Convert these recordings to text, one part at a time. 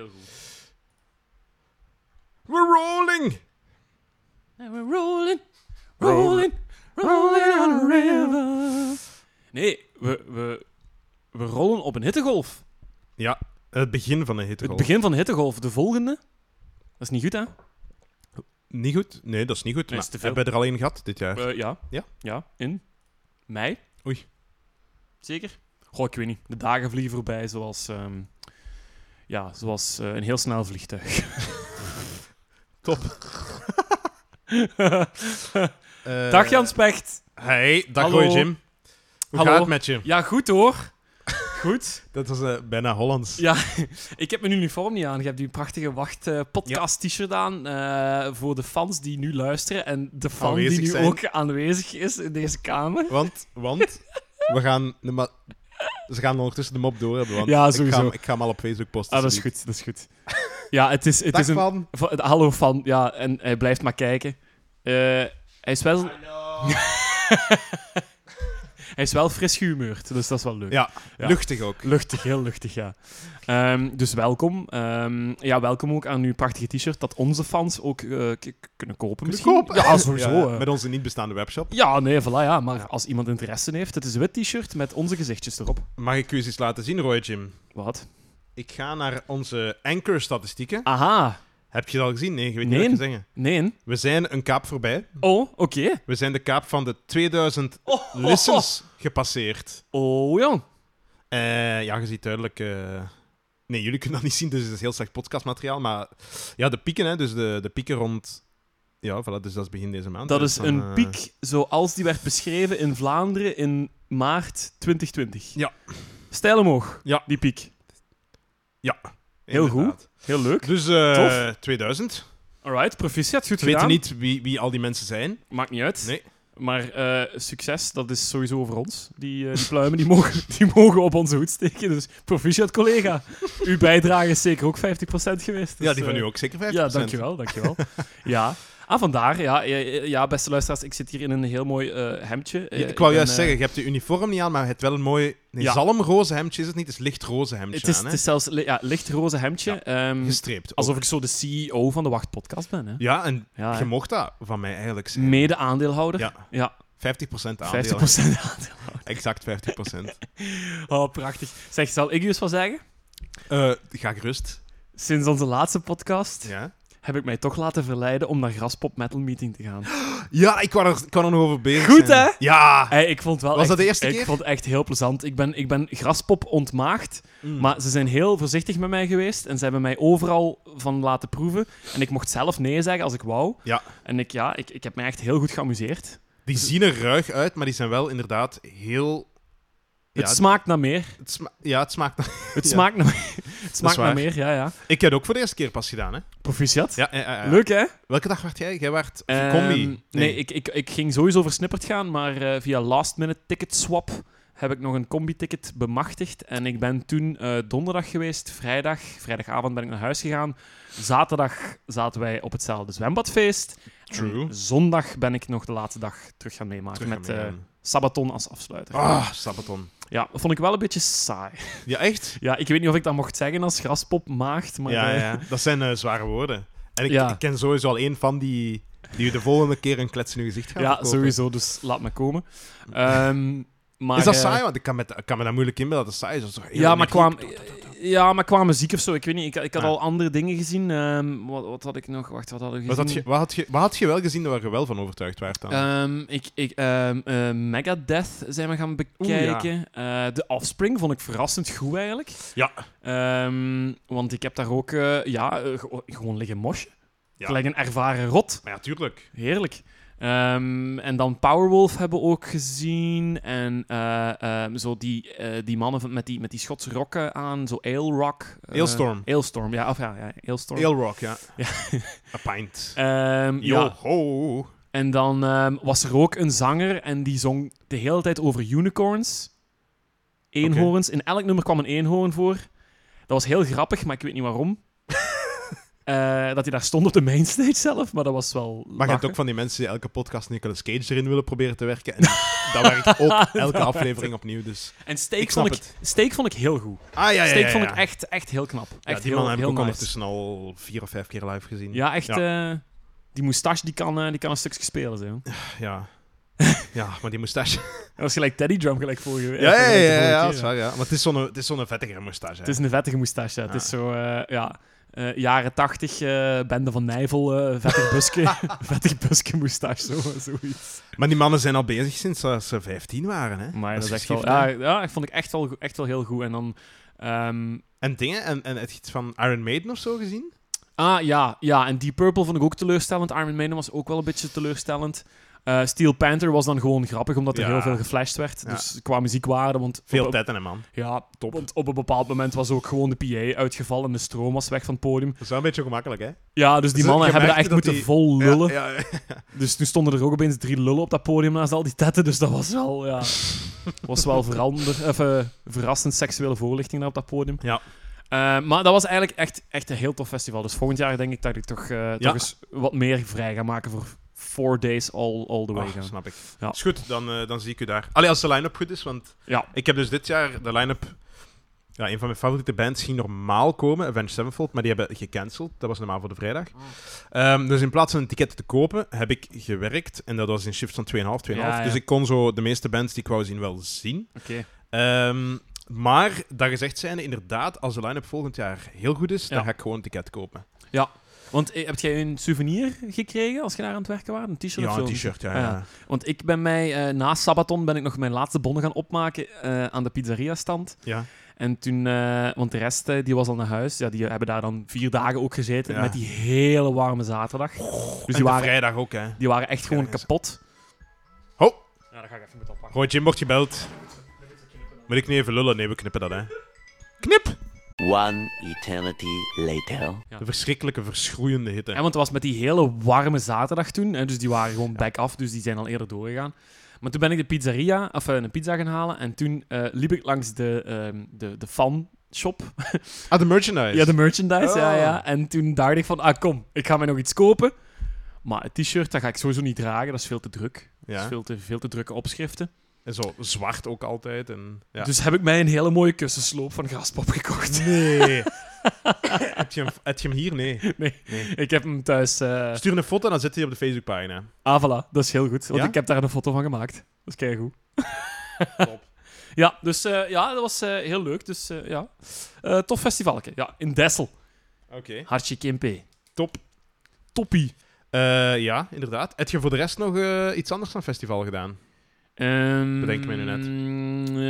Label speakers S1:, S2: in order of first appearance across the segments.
S1: heel goed.
S2: We're rolling!
S1: And we're rolling, rolling, rolling on a river. Nee, we, we, we rollen op een hittegolf.
S2: Ja, het begin van een hittegolf.
S1: Het begin van de hittegolf, de volgende. Dat is niet goed, hè?
S2: Niet goed? Nee, dat is niet goed.
S1: Nee,
S2: maar
S1: is te veel.
S2: hebben we er al één gehad dit jaar?
S1: Eh, ja.
S2: Ja?
S1: Ja, in mei.
S2: Oei.
S1: Zeker? Goh, ik weet niet. De dagen vliegen voorbij zoals, ehm, ja, zoals eh, een heel snel vliegtuig.
S2: Top. Eh,
S1: Dag Jan Specht.
S2: Hey, dag
S1: Hallo.
S2: Roy Jim. Hoe
S1: Hallo.
S2: gaat het met je?
S1: Ja, goed hoor. Goed.
S2: Dat was eh, bijna Hollands.
S1: Ja, ik heb mijn uniform niet aan. Je hebt die prachtige wacht eh, podcast t-shirt aan eh, voor de fans die nu luisteren en de fan
S2: Aanwezig
S1: die nu
S2: zijn.
S1: ook aanwezig is in deze kamer.
S2: Want, want we gaan de ma- ze gaan ondertussen de mop door hebben. Want
S1: Ja,
S2: Ik ga,
S1: sowieso.
S2: hem- ik ga hem al op Facebook posten.
S1: Ah, dat is goed, dat is goed. Ja, het is, het
S2: Dag
S1: is een...
S2: van.
S1: Va- Hallo van, ja, en hij blijft maar kijken. Eh, hij is wel... Hij is wel fris gehumeurd, dus dat is wel leuk.
S2: Ja,
S1: Ja.
S2: luchtig ook.
S1: Luchtig, heel luchtig, ja. Ehm, dus welkom. Ehm, ja, welkom ook aan uw prachtige t-shirt dat onze fans ook eh, k- k- kunnen kopen misschien.
S2: Kopen.
S1: Ja, sowieso.
S2: Ja,
S1: eh.
S2: met onze niet bestaande webshop.
S1: Ja, nee, voilà, ja. Maar als iemand interesse heeft, het is een wit t-shirt met onze gezichtjes erop.
S2: Mag ik u eens iets laten zien, Roy Jim?
S1: Wat?
S2: Ik ga naar onze anchor-statistieken.
S1: Aha.
S2: Heb je dat al gezien? Nee, je weet
S1: Nee.
S2: niet wat je zeggen.
S1: Nee.
S2: We zijn een kaap voorbij.
S1: Oh, oké.
S2: We zijn de kaap van de 2000
S1: Oh,
S2: listens gepasseerd.
S1: Oh, ja.
S2: Eh, ja, je ziet duidelijk. eh, Nee, jullie kunnen dat niet zien, dus het is heel slecht podcastmateriaal. Maar ja, de pieken, hè, dus de, de pieken rond. Ja, voilà, dus dat is begin deze maand.
S1: Dat
S2: Dus
S1: is
S2: dan,
S1: een
S2: eh,
S1: piek zoals die werd beschreven in Vlaanderen in maart 2020.
S2: Ja.
S1: Stijl omhoog,
S2: Ja.
S1: die piek. heel
S2: inderdaad.
S1: Heel leuk.
S2: Dus eh
S1: Tof.
S2: 2000.
S1: Alright, proficiat, goed
S2: We weten
S1: gedaan.
S2: niet wie, wie al die mensen zijn.
S1: Maakt niet uit.
S2: Nee.
S1: Maar eh, succes, dat is sowieso voor ons. Die, eh, die pluimen die mogen, die mogen op onze hoed steken. Dus proficiat, collega. Uw bijdrage is zeker ook 50% geweest. Dus, eh,
S2: ja, die van u
S1: ook.
S2: ook zeker 50%.
S1: Ja, dankjewel, dankjewel. ja. Ah, vandaar. Ja, ja, ja, beste luisteraars, ik zit hier in een heel mooi eh, hemdje. Eh,
S2: Ja, ik wou
S1: ben,
S2: juist
S1: eh,
S2: zeggen, je hebt de uniform niet aan, maar je hebt wel een mooi... Nee,
S1: Ja.
S2: zalmroze hemdje is het niet, het is lichtroze hemdje
S1: eh, Het is,
S2: aan,
S1: het
S2: hè?
S1: is zelfs li- ja, lichtroze hemdje. ehm,
S2: Gestreept. ook.
S1: alsof ik zo de CEO van de Wachtpodcast ben. Hè?
S2: Ja, en
S1: Ja,
S2: je
S1: hè.
S2: mocht dat van mij eigenlijk zijn.
S1: Mede-aandeelhouder. Ja,
S2: Ja, 50% aandeel.
S1: 50% aandeel.
S2: Exact 50%.
S1: Oh, prachtig. Zeg, zal ik u eens wat zeggen?
S2: Eh ga gerust.
S1: Sinds onze laatste podcast
S2: Ja.
S1: heb ik mij toch laten verleiden om naar Graspop Metal Meeting te gaan.
S2: Ja, ik kwam er, ik wou er nog over bezig.
S1: Goed,
S2: zijn.
S1: hè?
S2: Ja.
S1: Hey, ik vond wel
S2: Was
S1: echt-
S2: dat de eerste
S1: ik
S2: keer?
S1: vond het echt heel plezant. Ik ben, ik ben Graspop ontmaagd,
S2: Mm.
S1: maar ze zijn heel voorzichtig met mij geweest en ze hebben mij overal van laten proeven. En ik mocht zelf nee zeggen als ik wou.
S2: Ja.
S1: En ik, ja, ik, ik heb mij echt heel goed geamuseerd.
S2: Die zien er ruig uit, maar die zijn wel inderdaad heel... Ja,
S1: het smaakt naar meer.
S2: het sma- ja, het smaakt... naar-
S1: Het
S2: Ja.
S1: smaakt naar, het smaakt naar
S2: waar.
S1: meer, ja, ja.
S2: Ik heb het ook voor de eerste keer pas gedaan, hè?
S1: Proficiat.
S2: Ja, ja, ja, ja.
S1: Leuk, hè?
S2: Welke dag werd jij? Jij werd
S1: Ehm,
S2: combi.
S1: Nee, ik, ik, ik ging sowieso versnipperd gaan, maar eh, via last minute ticket swap heb ik nog een combi-ticket bemachtigd. En ik ben toen eh, donderdag geweest, vrijdag, vrijdagavond ben ik naar huis gegaan. Zaterdag zaten wij op hetzelfde zwembadfeest. En
S2: True.
S1: zondag ben ik nog de laatste dag terug gaan meemaken
S2: Terug
S1: met
S2: gaan
S1: eh,
S2: meegaan.
S1: Sabaton als afsluiter.
S2: Ah, Sabaton.
S1: Ja, dat vond ik wel een beetje saai.
S2: Ja, echt?
S1: Ja, ik weet niet of ik dat mocht zeggen als graspop maagd, maar...
S2: ja,
S1: eh,
S2: ja. Dat zijn eh, zware woorden. En ik,
S1: Ja.
S2: ik ken sowieso al één van die, die u de volgende keer een klets in uw gezicht gaat
S1: Ja,
S2: verkopen.
S1: sowieso, dus laat me komen. Ehm, maar,
S2: Is dat
S1: eh,
S2: saai? Want ik kan, met, ik kan me daar moeilijk in dat het saai is. Dat is toch heel
S1: Ja maar,
S2: energiek.
S1: kwam, ja, maar qua muziek of zo, ik weet niet. Ik, ik had
S2: Ja.
S1: al andere dingen gezien. Ehm, wat, wat had ik nog? Wacht, wat hadden we
S2: Wat
S1: gezien?
S2: had, je, wat, had je, wat had je wel gezien waar je wel van overtuigd werd dan?
S1: Ehm, ik, ik, ehm, eh, Megadeth zijn we gaan bekijken. Eh, de Offspring vond ik verrassend goed eigenlijk.
S2: Ja.
S1: Ehm, want ik heb daar ook eh, ja, eh, ge- gewoon liggen mosje.
S2: Ja.
S1: Gelijk een ervaren rot.
S2: maar ja, tuurlijk.
S1: Heerlijk. Ehm, en dan Powerwolf hebben we ook gezien. En eh, ehm, zo die, eh, die mannen van- met die, met die Schotse rokken aan, zo Ale Rock. eh,
S2: Aelstorm.
S1: Aelstorm, ja. Of ja, ja Aelstorm.
S2: Heel rock, ja.
S1: Ja.
S2: A pint.
S1: Ehm,
S2: Yo
S1: ja.
S2: ho.
S1: En dan ehm, was er ook een zanger en die zong de hele tijd over unicorns. Eenhoorns. In elk nummer kwam een eenhoorn voor. Dat was heel grappig, maar ik weet niet waarom. Eh, dat hij daar stond op de mainstage zelf, maar dat was wel.
S2: Maar je hebt
S1: lachen.
S2: ook van die mensen die elke podcast Nicolas Cage erin willen proberen te werken. En dat werkt ook elke aflevering opnieuw. Dus.
S1: En Steak,
S2: Ik snap
S1: vond, ik, Steak vond ik heel goed.
S2: Ah ja, ja,
S1: Steak
S2: ja,
S1: vond
S2: ja.
S1: ik echt, echt heel knap. Echt
S2: Ja, die
S1: heel,
S2: man heb ik
S1: heel
S2: ook
S1: nice.
S2: ondertussen al vier of vijf keer live gezien.
S1: Ja, echt.
S2: Ja.
S1: eh, die moustache die kan, eh, die kan een stukje spelen. Zo. Dat
S2: Ja, ja maar die moustache.
S1: was gelijk Teddy Drum, gelijk vorige week.
S2: Ja, ja, ja,
S1: vorige
S2: ja,
S1: keer,
S2: dat is waar, ja. Maar het is zo'n het is zo'n vettige moustache.
S1: Het is een vettige moustache. ja. Het
S2: Ja.
S1: is zo, eh, ja, eh, jaren tachtig, eh, Bende van Nijvel, eh vettig busje, vettig busje moustache, zo, zoiets.
S2: Maar die mannen zijn al bezig sinds dat ze 15 waren. Hè?
S1: Maar dat, is echt wel,
S2: geschift,
S1: ja,
S2: hè.
S1: ja, dat vond ik echt wel, go- echt wel heel goed. En dan, ehm,
S2: En dingen, en, en heb je iets van Iron Maiden of zo gezien?
S1: ah ja, ja, en Deep Purple vond ik ook teleurstellend. Armin Maiden was ook wel een beetje teleurstellend. Eh, Steel Panther was dan gewoon grappig, omdat er
S2: Ja.
S1: heel veel geflashed werd.
S2: Ja.
S1: Dus qua muziekwaarde, want... op-
S2: Veel
S1: op-
S2: tijd en een man.
S1: Ja, top. Want op een bepaald moment was ook gewoon de PA uitgevallen en de stroom was weg van het podium.
S2: Dat is wel een beetje gemakkelijk, hè?
S1: Ja, dus die
S2: Dus
S1: mannen
S2: je
S1: hebben daar echt
S2: merkte
S1: moeten
S2: dat
S1: vol lullen.
S2: Ja, ja,
S1: Dus toen stonden er ook opeens drie lullen op dat podium naast al die tetten. Dus dat was wel, ja, was wel verander, of, eh, verrassend seksuele voorlichting daar op dat podium.
S2: Ja.
S1: Eh, maar dat was eigenlijk echt, echt een heel tof festival. Dus volgend jaar denk ik dat ik toch, eh, toch eens wat meer vrij ga maken voor Four Days All, all the Way.
S2: Ah,
S1: gaan.
S2: snap ik.
S1: Ja.
S2: Is goed, dan, eh, dan zie ik u daar. Allee, als de line-up goed is, want
S1: Ja.
S2: ik heb dus dit jaar de line-up... Ja, een van mijn favoriete bands ging normaal komen, Avenged Sevenfold, maar die hebben gecanceld. Dat was normaal voor de vrijdag. Ehm, dus in plaats van een ticket te kopen, heb ik gewerkt. En dat was in shifts van 2,5, 2,5.
S1: Ja, ja.
S2: Dus ik kon zo de meeste bands die ik wou zien wel zien.
S1: Oké.
S2: Ehm, maar, dat gezegd zijnde, inderdaad, als de line-up volgend jaar heel goed is,
S1: Ja.
S2: dan ga ik gewoon een ticket kopen.
S1: Want eh, heb jij een souvenir gekregen als je daar aan het werken was? Een t-shirt of
S2: Ja,
S1: zo?
S2: een t-shirt, ja.
S1: Ah, ja.
S2: ja.
S1: Want ik ben mij, eh, na Sabaton, ben ik nog mijn laatste bonnen gaan opmaken eh, aan de pizzeria-stand.
S2: ja.
S1: En toen, eh, want de rest eh, die was al naar huis. Ja, die hebben daar dan vier dagen ook gezeten.
S2: Ja.
S1: Met die hele warme zaterdag. Dus
S2: Dus
S1: die waren,
S2: vrijdag ook, hè.
S1: die waren echt gewoon
S2: Ja, dat is-
S1: kapot.
S2: Ho!
S1: Ja, dat ga ik even moeten oppakken.
S2: Roy Jim wordt gebeld. Moet ik nu even lullen? Nee, we knippen dat, hè. Knip!
S3: One eternity later.
S2: De verschrikkelijke, verschroeiende hitte.
S1: Ja, want het was met die hele warme zaterdag toen. Hè, dus die waren gewoon back af. Dus die zijn al eerder doorgegaan. Maar toen ben ik de pizzeria, of eh, een pizza gaan halen. En toen eh, liep ik langs de, ehm, de, de fanshop
S2: Ah, de merchandise.
S1: Ja, de merchandise, ja,
S2: Oh.
S1: ja. En toen dacht ik van, ah kom, ik ga mij nog iets kopen. Maar het t-shirt, dat ga ik sowieso niet dragen. Dat is veel te druk. Dat is
S2: Ja.
S1: veel te, veel te drukke opschriften.
S2: En zo zwart ook altijd. En, ja.
S1: Dus heb ik mij een hele mooie kussensloop van Graspop gekocht.
S2: Nee. heb, je hem, heb je hem hier? Nee.
S1: Nee,
S2: Nee.
S1: ik heb hem thuis... eh
S2: Stuur een foto en dan zet hij op de Facebookpagina.
S1: Ah, voilà. Dat is heel goed. Want
S2: Ja?
S1: ik heb daar een foto van gemaakt. Dat is keigoed. Ja, dus eh, ja, dat was eh, heel leuk. Dus eh, ja, Eh, tof festivalke. Ja, in Dessel.
S2: Oké.
S1: Hartje Kimpe.
S2: Top.
S1: Toppie.
S2: Eh, ja, inderdaad. Heb je voor de rest nog eh, iets anders dan festival gedaan?
S1: Ehm,
S2: Bedenk mij nu net.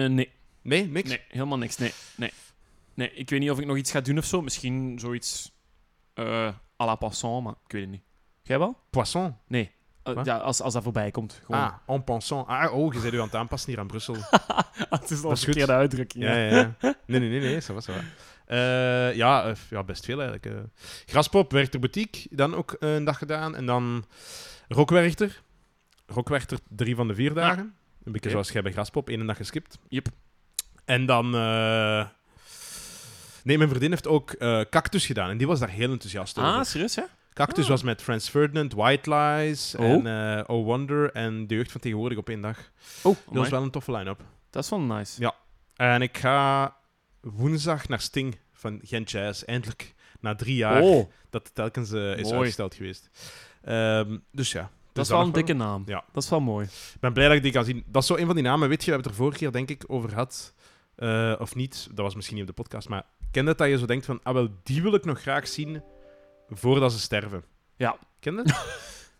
S1: eh, nee.
S2: Nee, niks?
S1: Nee, helemaal niks. Nee, nee. Nee, ik weet niet of ik nog iets ga doen of zo. Misschien zoiets eh à la passant, maar ik weet het niet. Jij wel?
S2: Poisson.
S1: Nee. Eh,
S2: Wat?
S1: ja, als, als dat voorbij komt. Gewoon.
S2: Ah, en passant. Ah, oh, je bent u aan het aanpassen hier aan Brussel.
S1: het is al een
S2: is goed.
S1: verkeerde uitdrukking.
S2: Ja,
S1: hè.
S2: ja, ja. Nee, nee, nee, nee, ça va, ça va. Eh, ja, eh, ja, best veel eigenlijk. eh. Graspop, Werchter Boutique, dan ook eh, een dag gedaan. En dan Rockwerchter. Rockwerchter drie van de vier dagen. Een beetje
S1: Ah. Oké.
S2: zoals jij bij Graspop, één dag geskipt.
S1: Yep.
S2: En dan... eh, Nee, mijn vriendin heeft ook eh, Cactus gedaan. En die was daar heel enthousiast over.
S1: Ah, serieus, ja?
S2: Cactus
S1: ah.
S2: was met Franz Ferdinand, White Lies,
S1: Oh.
S2: en eh Oh Wonder en De Jeugd van Tegenwoordig op één dag.
S1: Oh,
S2: Dat was wel een toffe line-up.
S1: dat is wel nice.
S2: Ja. En ik ga woensdag naar Sting van Gent Jazz. Eindelijk. Na drie jaar
S1: oh,
S2: dat het telkens eh, is
S1: Mooi.
S2: uitgesteld geweest. Ehm, dus ja.
S1: dat
S2: Dus
S1: is wel
S2: nog
S1: een dikke naam.
S2: Ja.
S1: Dat is wel mooi.
S2: Ik ben blij dat ik die kan zien. Dat is zo een van die namen. Weet je, we hebben het er vorige keer denk ik over gehad. eh, of niet. Dat was misschien niet op de podcast. Maar ken dat dat je zo denkt van... Ah, wel, die wil ik nog graag zien voordat ze sterven.
S1: Ja.
S2: Ken dat?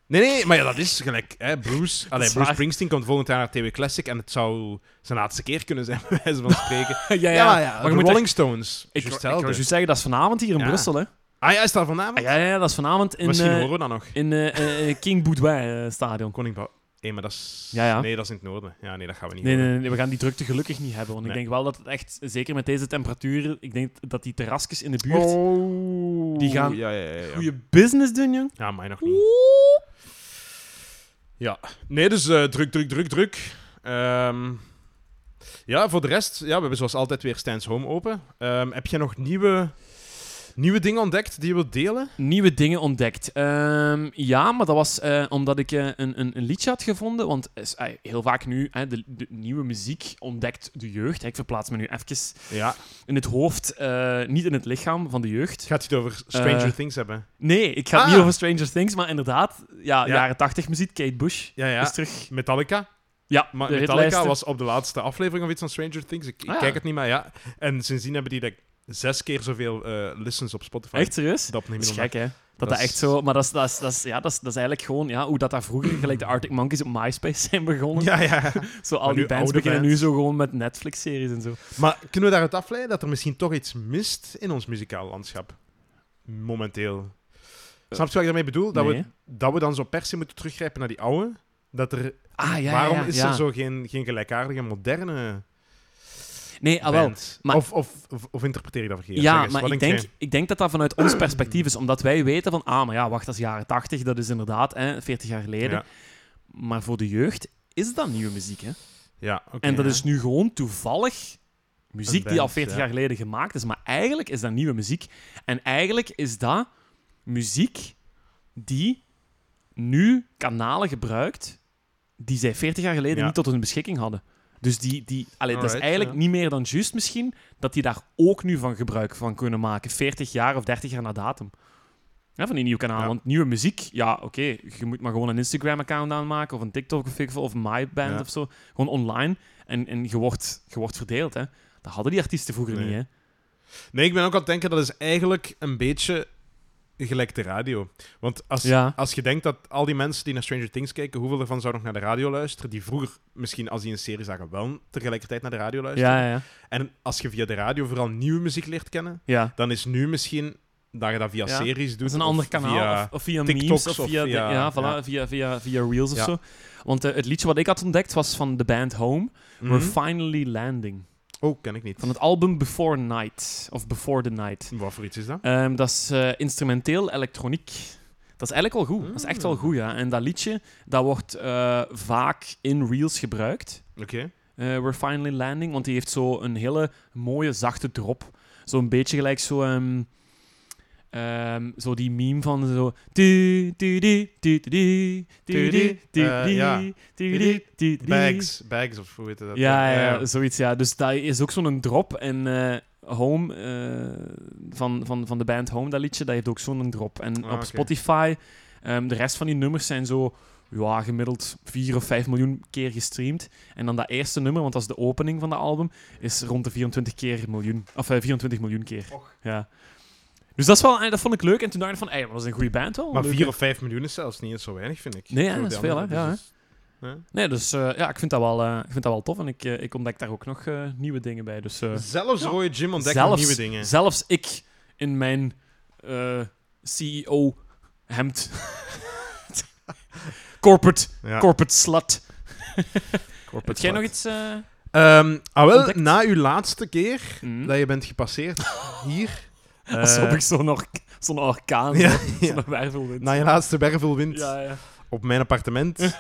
S2: Nee, nee, maar ja, dat is gelijk. Hè, Bruce, allee, Bruce
S1: waar.
S2: Springsteen komt volgend jaar naar TW Classic en het zou zijn laatste keer kunnen zijn, bij wijze van spreken.
S1: ja, ja.
S2: Ja, maar ja.
S1: je
S2: de
S1: moet
S2: Rolling Stones.
S1: Ik, ik, wou-
S2: Juist
S1: ik
S2: hetzelfde.
S1: wou juist zeggen, dat is vanavond hier in
S2: Ja.
S1: Brussel, hè?
S2: Ah ja, is dat vanavond?
S1: Ah, ja, ja, ja, dat is vanavond in,
S2: Misschien
S1: eh,
S2: horen we dat nog.
S1: in eh, eh, eh, King Boudouin eh, Stadion.
S2: Koning Bou- Hé, maar dat is...
S1: Ja, ja.
S2: Nee, dat is in het noorden. Ja, nee, dat gaan we niet
S1: Nee,
S2: horen.
S1: nee, nee, we gaan die drukte gelukkig niet hebben. Want ik
S2: Nee.
S1: denk wel dat het echt, zeker met deze temperaturen, ik denk dat die terrasjes in de buurt
S2: Oh.
S1: Die gaan
S2: Ja, ja, ja. ja.
S1: goede business doen, jong.
S2: Ja, mij nog niet. Ja. Nee, dus eh, druk, druk, druk, druk. Ehm, ja, voor de rest... Ja, we hebben zoals altijd weer Stijn's Home open. Ehm, heb je nog nieuwe Nieuwe dingen ontdekt die je wilt delen?
S1: Nieuwe dingen ontdekt. Ehm, ja, maar dat was eh, omdat ik eh, een, een, een liedje had gevonden. Want eh, s- eh, heel vaak nu, hè, de, de nieuwe muziek ontdekt de jeugd. Ik verplaats me nu even
S2: Ja.
S1: in het hoofd, eh, niet in het lichaam van de jeugd.
S2: Gaat hij het over Stranger
S1: Eh,
S2: Things hebben?
S1: Nee, ik ga het
S2: Ah.
S1: niet over Stranger Things, maar inderdaad, ja,
S2: Ja.
S1: jaren 80 muziek, Kate Bush
S2: Ja, ja.
S1: is terug.
S2: Metallica.
S1: Ja,
S2: Maar
S1: de
S2: Metallica
S1: hitlijsten.
S2: was op de laatste aflevering of iets van Stranger Things. Ik, ik
S1: Ah, ja.
S2: kijk het niet, maar ja. En sindsdien hebben die denk, ik, zes keer zoveel eh, listens op Spotify.
S1: Echt serieus?
S2: Dat neem
S1: Dat
S2: ik
S1: is
S2: nog maar.
S1: gek, hè? Dat
S2: Dat
S1: dat
S2: is-
S1: echt zo... Maar dat is, dat is, dat is, ja, dat is, dat is eigenlijk gewoon ja, hoe dat daar vroeger, gelijk de Arctic Monkeys op MySpace zijn begonnen.
S2: Ja, ja.
S1: Zo al
S2: Maar
S1: die
S2: nu
S1: bands
S2: oude
S1: beginnen
S2: bands.
S1: nu zo gewoon met Netflix-series en zo.
S2: Maar kunnen we daaruit afleiden dat er misschien toch iets mist in ons muzikaal landschap? Momenteel. Snap je wat ik daarmee bedoel? Dat,
S1: Eh, Nee.
S2: we, dat we dan zo per se moeten teruggrijpen naar die oude? Dat er,
S1: Ah, ja,
S2: waarom
S1: ja, ja,
S2: is
S1: ja.
S2: er zo geen, geen gelijkaardige, moderne
S1: Nee, ah, wel.
S2: band?
S1: maar-
S2: of, of, of, of interpreteer je dat verkeerd? Zeg
S1: Ja,
S2: eens,
S1: maar
S2: wat
S1: ik denk,
S2: jij?
S1: ik denk dat dat vanuit ons perspectief is. Omdat wij weten van, ah, maar ja, wacht, dat is jaren 80. Dat is inderdaad hè, 40 jaar geleden.
S2: Ja,
S1: Maar voor de jeugd is dat nieuwe muziek, hè?
S2: ja oké,
S1: En dat
S2: ja.
S1: is nu gewoon toevallig muziek
S2: Een
S1: die al
S2: band,
S1: 40
S2: ja.
S1: jaar geleden gemaakt is. Maar eigenlijk is dat nieuwe muziek. En eigenlijk is dat muziek die nu kanalen gebruikt die zij 40 jaar geleden
S2: Ja.
S1: niet tot hun beschikking hadden. Dus die, die, allee, dat is
S2: Alright,
S1: eigenlijk
S2: ja.
S1: niet meer dan juist misschien dat die daar ook nu van gebruik van kunnen maken. 40 jaar of 30 jaar na datum. Ja, van die nieuwe kanalen.
S2: Ja.
S1: Want nieuwe muziek, ja, oké. je moet maar gewoon een Instagram-account aanmaken of een TikTok of, weet ik veel, of MyBand
S2: Ja.
S1: of zo. Gewoon online. En, en je, wordt, je wordt verdeeld, hè. Dat hadden die artiesten vroeger
S2: Nee.
S1: niet, hè.
S2: Nee, ik ben ook aan het denken, dat is eigenlijk een beetje gelijk de radio. Want als,
S1: Ja.
S2: als je denkt dat al die mensen die naar Stranger Things kijken, hoeveel ervan zou nog naar de radio luisteren, die vroeger misschien als die een serie zagen wel tegelijkertijd naar de radio luisteren.
S1: Ja, ja, ja.
S2: En als je via de radio vooral nieuwe muziek leert kennen,
S1: ja.
S2: dan is nu misschien dat je dat via
S1: Ja,
S2: series doet.
S1: Dat is een
S2: of
S1: ander kanaal.
S2: via-
S1: of, of via
S2: TikToks
S1: memes of
S2: of
S1: via, de-
S2: via-
S1: ja, voilà,
S2: ja.
S1: Via, via, via reels of
S2: Ja.
S1: zo. Want eh, het liedje wat ik had ontdekt was van de band Home.
S2: Mhm.
S1: We're Finally Landing.
S2: Oh, ken ik niet.
S1: Van het album Before Night. Of Before the Night.
S2: Wat voor iets is dat?
S1: Ehm, dat is eh, instrumenteel elektroniek. Dat is eigenlijk wel goed. Dat is echt wel
S2: Mm.
S1: goed, ja. En dat liedje, dat wordt eh, vaak in reels gebruikt.
S2: Oké.
S1: Eh, We're Finally Landing. Want die heeft zo een hele mooie, zachte drop. Zo'n beetje gelijk zo... ehm, ehm, zo die meme van zo... tu, tu, di, tu, tu, di, tu, di, tu,
S2: Eh,
S1: di,
S2: ja.
S1: tu, di, tu, di.
S2: Bags. Bags of hoe heet dat? eh,
S1: Ja, ja, ja, zoiets, ja. Dus dat is ook zo'n drop. En eh, Home, eh, van, van, van de band Home, dat liedje, dat heeft ook zo'n drop. En op
S2: Ah, oké.
S1: Spotify, ehm, de rest van die nummers zijn zo... Ja, gemiddeld 4 of 5 miljoen keer gestreamd. En dan dat eerste nummer, want dat is de opening van dat album, is rond de 24 keer miljoen. Of eh, 24 miljoen keer. Ja. Dus dat, is wel, eh, dat vond ik leuk. En toen dacht ik van, ey, maar dat is een goede band wel.
S2: Maar
S1: Leuk.
S2: 4 of 5 miljoen is zelfs niet eens zo weinig, vind ik.
S1: Nee, ja,
S2: Voor
S1: dat
S2: de
S1: is veel, hè.
S2: andere,
S1: Ja,
S2: dus is- Ja.
S1: Nee, dus eh, ja, ik vind dat wel, eh, ik vind dat wel tof. En ik, eh, ik ontdek daar ook nog eh, nieuwe dingen bij. Dus, eh,
S2: Zelfs
S1: Ja.
S2: Roy Jim ontdekt
S1: zelfs,
S2: nieuwe dingen.
S1: Zelfs ik in mijn eh, CEO-hemd. corporate,
S2: Ja.
S1: corporate slut.
S2: Corporate
S1: Heb jij nog
S2: slut.
S1: iets? eh,
S2: Ehm, ah, wel,
S1: ontdekt?
S2: na uw laatste keer
S1: hm?
S2: dat je bent gepasseerd hier...
S1: Alsof
S2: eh,
S1: ik zo'n ork- zo'n orkaan,
S2: ja,
S1: ja,
S2: ja.
S1: zo'n wervelwind.
S2: Na je laatste wervelwind
S1: ja, ja.
S2: op mijn appartement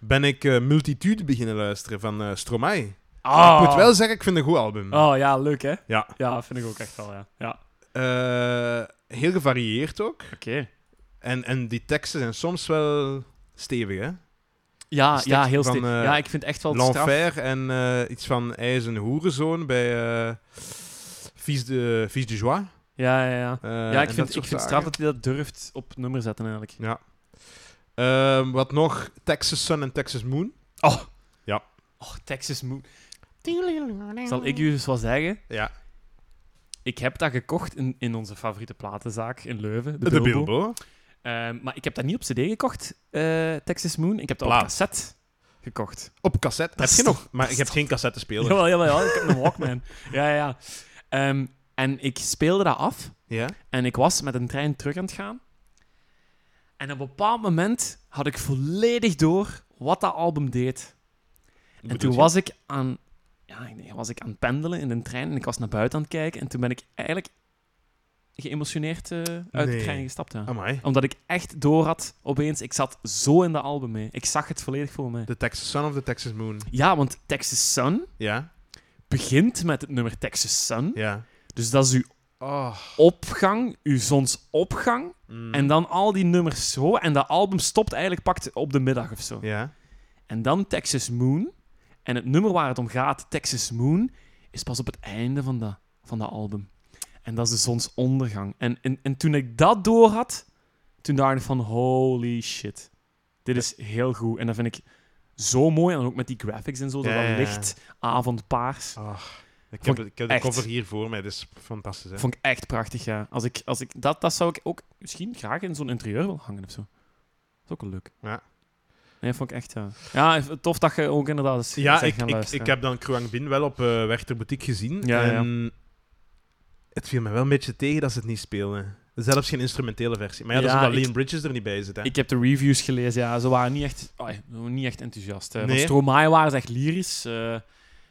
S2: ben ik eh, Multitude beginnen luisteren van eh Stromae.
S1: Ah.
S2: Ik moet wel zeggen, ik vind het een goed album.
S1: Oh ja, leuk hè?
S2: Ja.
S1: Ja, vind ik ook echt wel, ja. ja.
S2: Eh, heel gevarieerd ook.
S1: Oké.
S2: En, en die teksten zijn soms wel stevig, hè?
S1: Ja,
S2: Een
S1: ja,
S2: stukje
S1: heel
S2: van,
S1: stil.
S2: eh,
S1: ja, ik vind echt wel het straf.
S2: L'Enfer en eh, iets van Hij is een hoerenzoon bij eh Fils de, Fils de Joie.
S1: Ja, ja, ja.
S2: Eh,
S1: ja,
S2: en
S1: ik
S2: dat
S1: vind,
S2: soort
S1: ik vind
S2: zaken.
S1: straf dat hij dat durft op nummer zetten eigenlijk.
S2: Ja. Ehm, wat nog? Texas Sun en Texas Moon.
S1: Oh.
S2: Ja.
S1: Oh, Texas Moon. Zal ik u dus wat zeggen?
S2: Ja.
S1: Ik heb dat gekocht in, in onze favoriete platenzaak in Leuven, de,
S2: De
S1: Bilbo.
S2: Bilbo.
S1: Ehm, maar ik heb dat niet op cd gekocht, eh, Texas Moon. Ik heb dat op
S2: Plaat.
S1: cassette gekocht.
S2: Op cassette.
S1: Dat
S2: Heb
S1: is
S2: je
S1: toch-
S2: nog? Maar je hebt geen cassette speler.
S1: Jawel, jawel, jawel. Ik heb een Walkman. ja, ja, ja. Ehm, en ik speelde dat af.
S2: Ja?
S1: En ik was met een trein terug aan het gaan. En op een bepaald moment had ik volledig door wat dat album deed. En toen was ik aan... Ja, ik denk, was ik aan het pendelen in de trein en ik was naar buiten aan het kijken. En toen ben ik eigenlijk geëmotioneerd eh, uit
S2: Nee.
S1: de trein gestapt. Ja.
S2: Amai.
S1: Omdat ik echt door had, opeens, ik zat zo in dat album mee. Ik zag het volledig voor mij.
S2: De Texas Sun of de Texas Moon.
S1: Ja, want Texas Sun
S2: Ja?
S1: begint met het nummer Texas Sun.
S2: Ja.
S1: Dus dat is uw
S2: Oh.
S1: opgang, uw zonsopgang.
S2: Mm.
S1: En dan al die nummers zo. En dat album stopt eigenlijk pakt op de middag of zo.
S2: Ja.
S1: En dan Texas Moon. En het nummer waar het om gaat, Texas Moon, is pas op het einde van dat, van dat album. En dat is de zonsondergang. En, en, en toen ik dat door had, toen dacht ik van holy shit. Dit is heel goed. En dat vind ik zo mooi. En dan ook met die graphics en zo. Dat
S2: Ja, ja, ja.
S1: dat licht avondpaars.
S2: Oh. Ik,
S1: Vond
S2: heb,
S1: ik
S2: ik heb de
S1: echt.
S2: cover hier voor mij, dus fantastisch. Hè?
S1: Vond ik echt prachtig, ja. Als ik, als ik, dat, dat zou ik ook misschien graag in zo'n interieur willen hangen of zo. Dat is ook wel leuk.
S2: Ja.
S1: Nee, vond ik echt, ja. Ja, tof dat je ook inderdaad eens
S2: Ja,
S1: eens echt
S2: ik,
S1: gaan
S2: ik,
S1: luisteren.
S2: ik heb dan Kruang Bin wel op eh Werchter Boutique gezien.
S1: Ja, ja, ja.
S2: en Het viel me wel een beetje tegen dat ze het niet speelden. Zelfs geen instrumentele versie. Maar ja, dat
S1: Ja,
S2: is omdat
S1: ik-
S2: Liam Bridges er niet bij zit. Hè?
S1: Ik heb de reviews gelezen, ja. Ze waren niet echt, ai, ze waren niet echt enthousiast. hè. Van
S2: Nee.
S1: Stromae waren ze echt lyrisch. eh,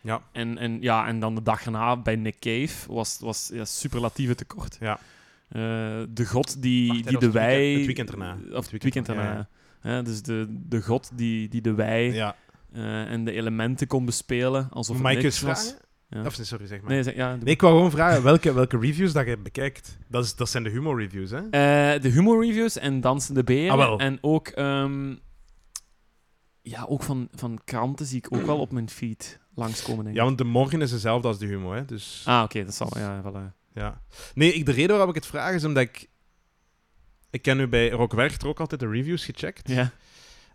S2: Ja.
S1: En, en, ja, en dan de dag erna bij Nick Cave was, was ja, superlatieve tekort.
S2: Ja.
S1: Eh, de god die,
S2: Wacht, hè,
S1: die
S2: dat
S1: de
S2: was het
S1: wij...
S2: weekend- het weekend erna.
S1: Of
S2: Het
S1: het
S2: weekend
S1: weekend
S2: erna,
S1: erna,
S2: ja.
S1: hè. dus de, de god die, die de wij...
S2: Ja.
S1: eh, en de elementen kon bespelen alsof het
S2: Mike
S1: niks
S2: eens
S1: was.
S2: vragen?
S1: Ja.
S2: Of nee, sorry, zeg maar.
S1: Nee, zeg- ja, doe
S2: Nee, ik wou gewoon vragen welke, welke reviews dat je bekijkt. Dat, is, dat zijn de humor reviews, hè?
S1: maar. Eh, de humor reviews en dansende beren.
S2: Ah, wel.
S1: En ook, ehm, ja, ook van, van kranten zie ik ook wel op mijn feed langskomen. Denk ik.
S2: Ja, want de morgen is dezelfde als de humor, hè? Dus,
S1: Ah, oké, dat zal wel. Ja, wel, eh.
S2: ja. Nee, ik, de reden waarom ik het vraag is omdat ik... Ik ken nu bij Rock Werchter ook altijd de reviews gecheckt.
S1: ja.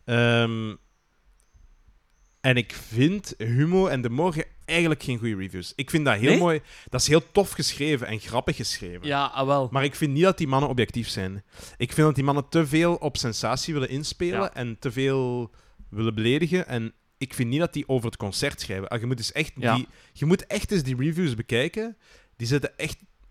S2: Ehm, en ik vind Humo en De Morgen eigenlijk geen goede reviews. Ik vind dat heel
S1: Nee?
S2: mooi. Dat is heel tof geschreven en grappig geschreven.
S1: ja, ah, wel.
S2: Maar ik vind niet dat die mannen objectief zijn. Ik vind dat die mannen te veel op sensatie willen inspelen
S1: Ja.
S2: en te veel willen beledigen. En ik vind niet dat die over het concert schrijven. Ah, Je moet, dus echt
S1: Ja.
S2: die, je moet echt eens die reviews bekijken. Die zitten echt 80%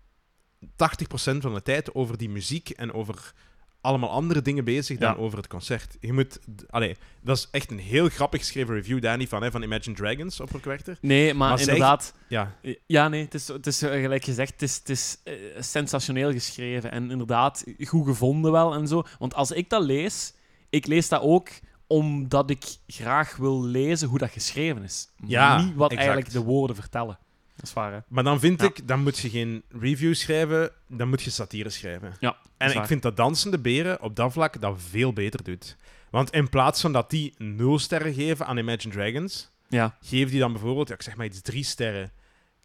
S2: van de tijd over die muziek en over allemaal andere dingen bezig dan
S1: Ja.
S2: over het concert. Je moet... d- Allee, dat is echt een heel grappig geschreven review, daar niet van, hè, van Imagine Dragons op Rockwerter.
S1: Nee, maar,
S2: maar zij-
S1: inderdaad.
S2: Ja.
S1: Ja, nee, het is, het is eh, gelijk gezegd, het is, het is eh, sensationeel geschreven en inderdaad goed gevonden wel en zo. Want als ik dat lees, ik lees dat ook omdat ik graag wil lezen hoe dat geschreven is.
S2: Ja,
S1: Niet wat
S2: exact.
S1: eigenlijk de woorden vertellen. Dat is waar, hè?
S2: Maar dan vind
S1: Ja.
S2: ik, dan moet je geen review schrijven, dan moet je satire schrijven.
S1: Ja, dat is
S2: En
S1: waar.
S2: ik vind dat Dansende Beren op dat vlak dat veel beter doet. Want in plaats van dat die nul sterren geven aan Imagine Dragons,
S1: Ja,
S2: geef die dan bijvoorbeeld, ja, ik zeg maar iets, drie sterren.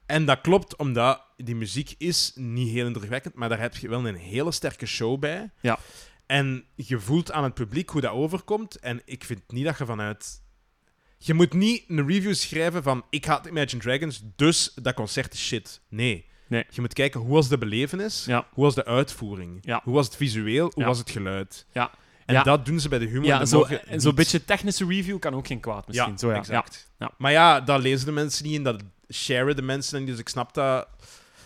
S2: En dat klopt, omdat die muziek is niet heel indrukwekkend, maar daar heb je wel een hele sterke show bij.
S1: Ja.
S2: En je voelt aan het publiek hoe dat overkomt. En ik vind niet dat je vanuit... Je moet niet een review schrijven van ik haat Imagine Dragons, dus dat concert is shit. Nee.
S1: Nee.
S2: Je moet kijken hoe was de belevenis,
S1: Ja.
S2: hoe was de uitvoering,
S1: Ja.
S2: hoe was het visueel, hoe
S1: Ja.
S2: was het geluid.
S1: Ja.
S2: En
S1: Ja.
S2: dat doen ze bij de humor. en
S1: ja
S2: de
S1: zo'n
S2: morgen
S1: zo
S2: niet.
S1: beetje technische review kan ook geen kwaad misschien.
S2: Ja,
S1: zo, ja.
S2: exact.
S1: Ja. Ja.
S2: Maar ja, dat lezen de mensen niet en dat sharen de mensen niet. Dus ik snap dat...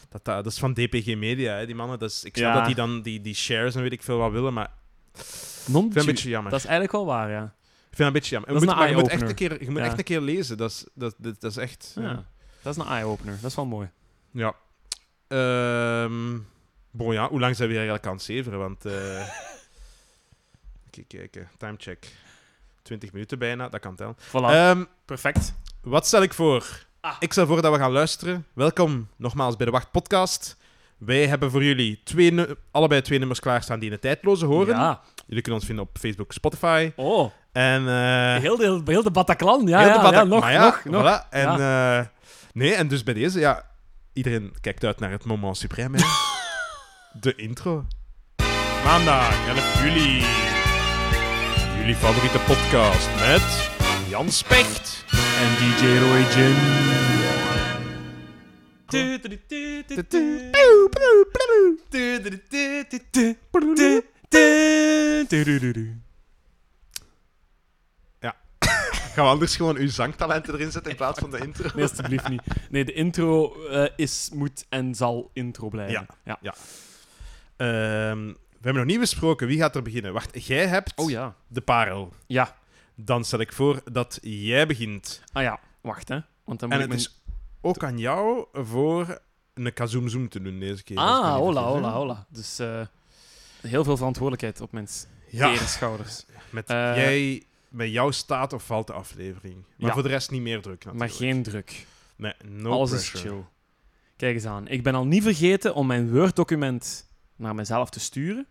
S2: Dat, dat, dat is van DPG Media, hè, die mannen. Dus ik snap
S1: Ja.
S2: dat die dan die, die shares en weet ik veel wat willen, maar
S1: Ja.
S2: ik vind dat
S1: Non-Jew.
S2: een beetje jammer.
S1: Dat is eigenlijk wel waar, ja.
S2: Ik vind dat een beetje jammer.
S1: Dat
S2: je
S1: is
S2: moet,
S1: een
S2: maar je moet, echt, een
S1: eye-opener.
S2: keer, je moet
S1: Ja.
S2: echt een keer lezen. Dat is, dat, dat, dat is echt...
S1: Ja.
S2: Ja.
S1: Dat is een eye-opener. Dat is wel mooi.
S2: ja. Ehm, bon, ja. Hoe lang zijn we hier eigenlijk aan het zeveren? Want... eh Even kijken. Timecheck. 20 minuten bijna, dat kan tellen.
S1: Voilà,
S2: Ehm,
S1: perfect.
S2: Wat stel ik voor?
S1: Ah.
S2: Ik stel voor dat we gaan luisteren. Welkom nogmaals bij de Wacht Podcast. Wij hebben voor jullie twee nu- allebei twee nummers klaarstaan die in de tijdloze horen.
S1: Ja.
S2: Jullie kunnen ons vinden op Facebook, Spotify.
S1: Oh,
S2: En, eh,
S1: heel de, heel de Bataclan. Ja,
S2: heel
S1: ja,
S2: de bata-
S1: ja, nog,
S2: maar ja,
S1: nog, nog.
S2: voilà. En, eh, nee, en dus bij deze, ja, iedereen kijkt uit naar het moment suprême. hè. de intro. Maandag, 11 juli. Jullie favoriete podcast met Jan Specht.
S1: En DJ Roy Jim.
S2: Gaan we anders gewoon uw zangtalenten erin zetten in plaats van de intro?
S1: Nee, alsjeblieft niet. Nee, de intro eh, is, moet en zal intro blijven.
S2: Ja. Ehm, we hebben nog niet besproken. Wie gaat er beginnen? Wacht, jij hebt
S1: Oh ja.
S2: de parel.
S1: Ja.
S2: Dan stel ik voor dat jij begint.
S1: Ah ja, wacht hè. Want dan moet
S2: en
S1: ik
S2: het
S1: mijn...
S2: is ook aan jou voor een kazoomzoom te doen deze keer. als ik me
S1: Ah,
S2: niet
S1: hola,
S2: vergis, hè?
S1: hola, hola. Dus eh, heel veel verantwoordelijkheid op mijn
S2: Ja,
S1: tere schouders.
S2: met,
S1: Eh,
S2: jij, met jou staat of valt de aflevering. Maar
S1: Ja.
S2: voor de rest niet meer druk natuurlijk.
S1: Maar geen druk.
S2: Nee, no
S1: Alles
S2: pressure.
S1: is chill. Kijk eens aan. Ik ben al niet vergeten om mijn Word-document naar mezelf te sturen.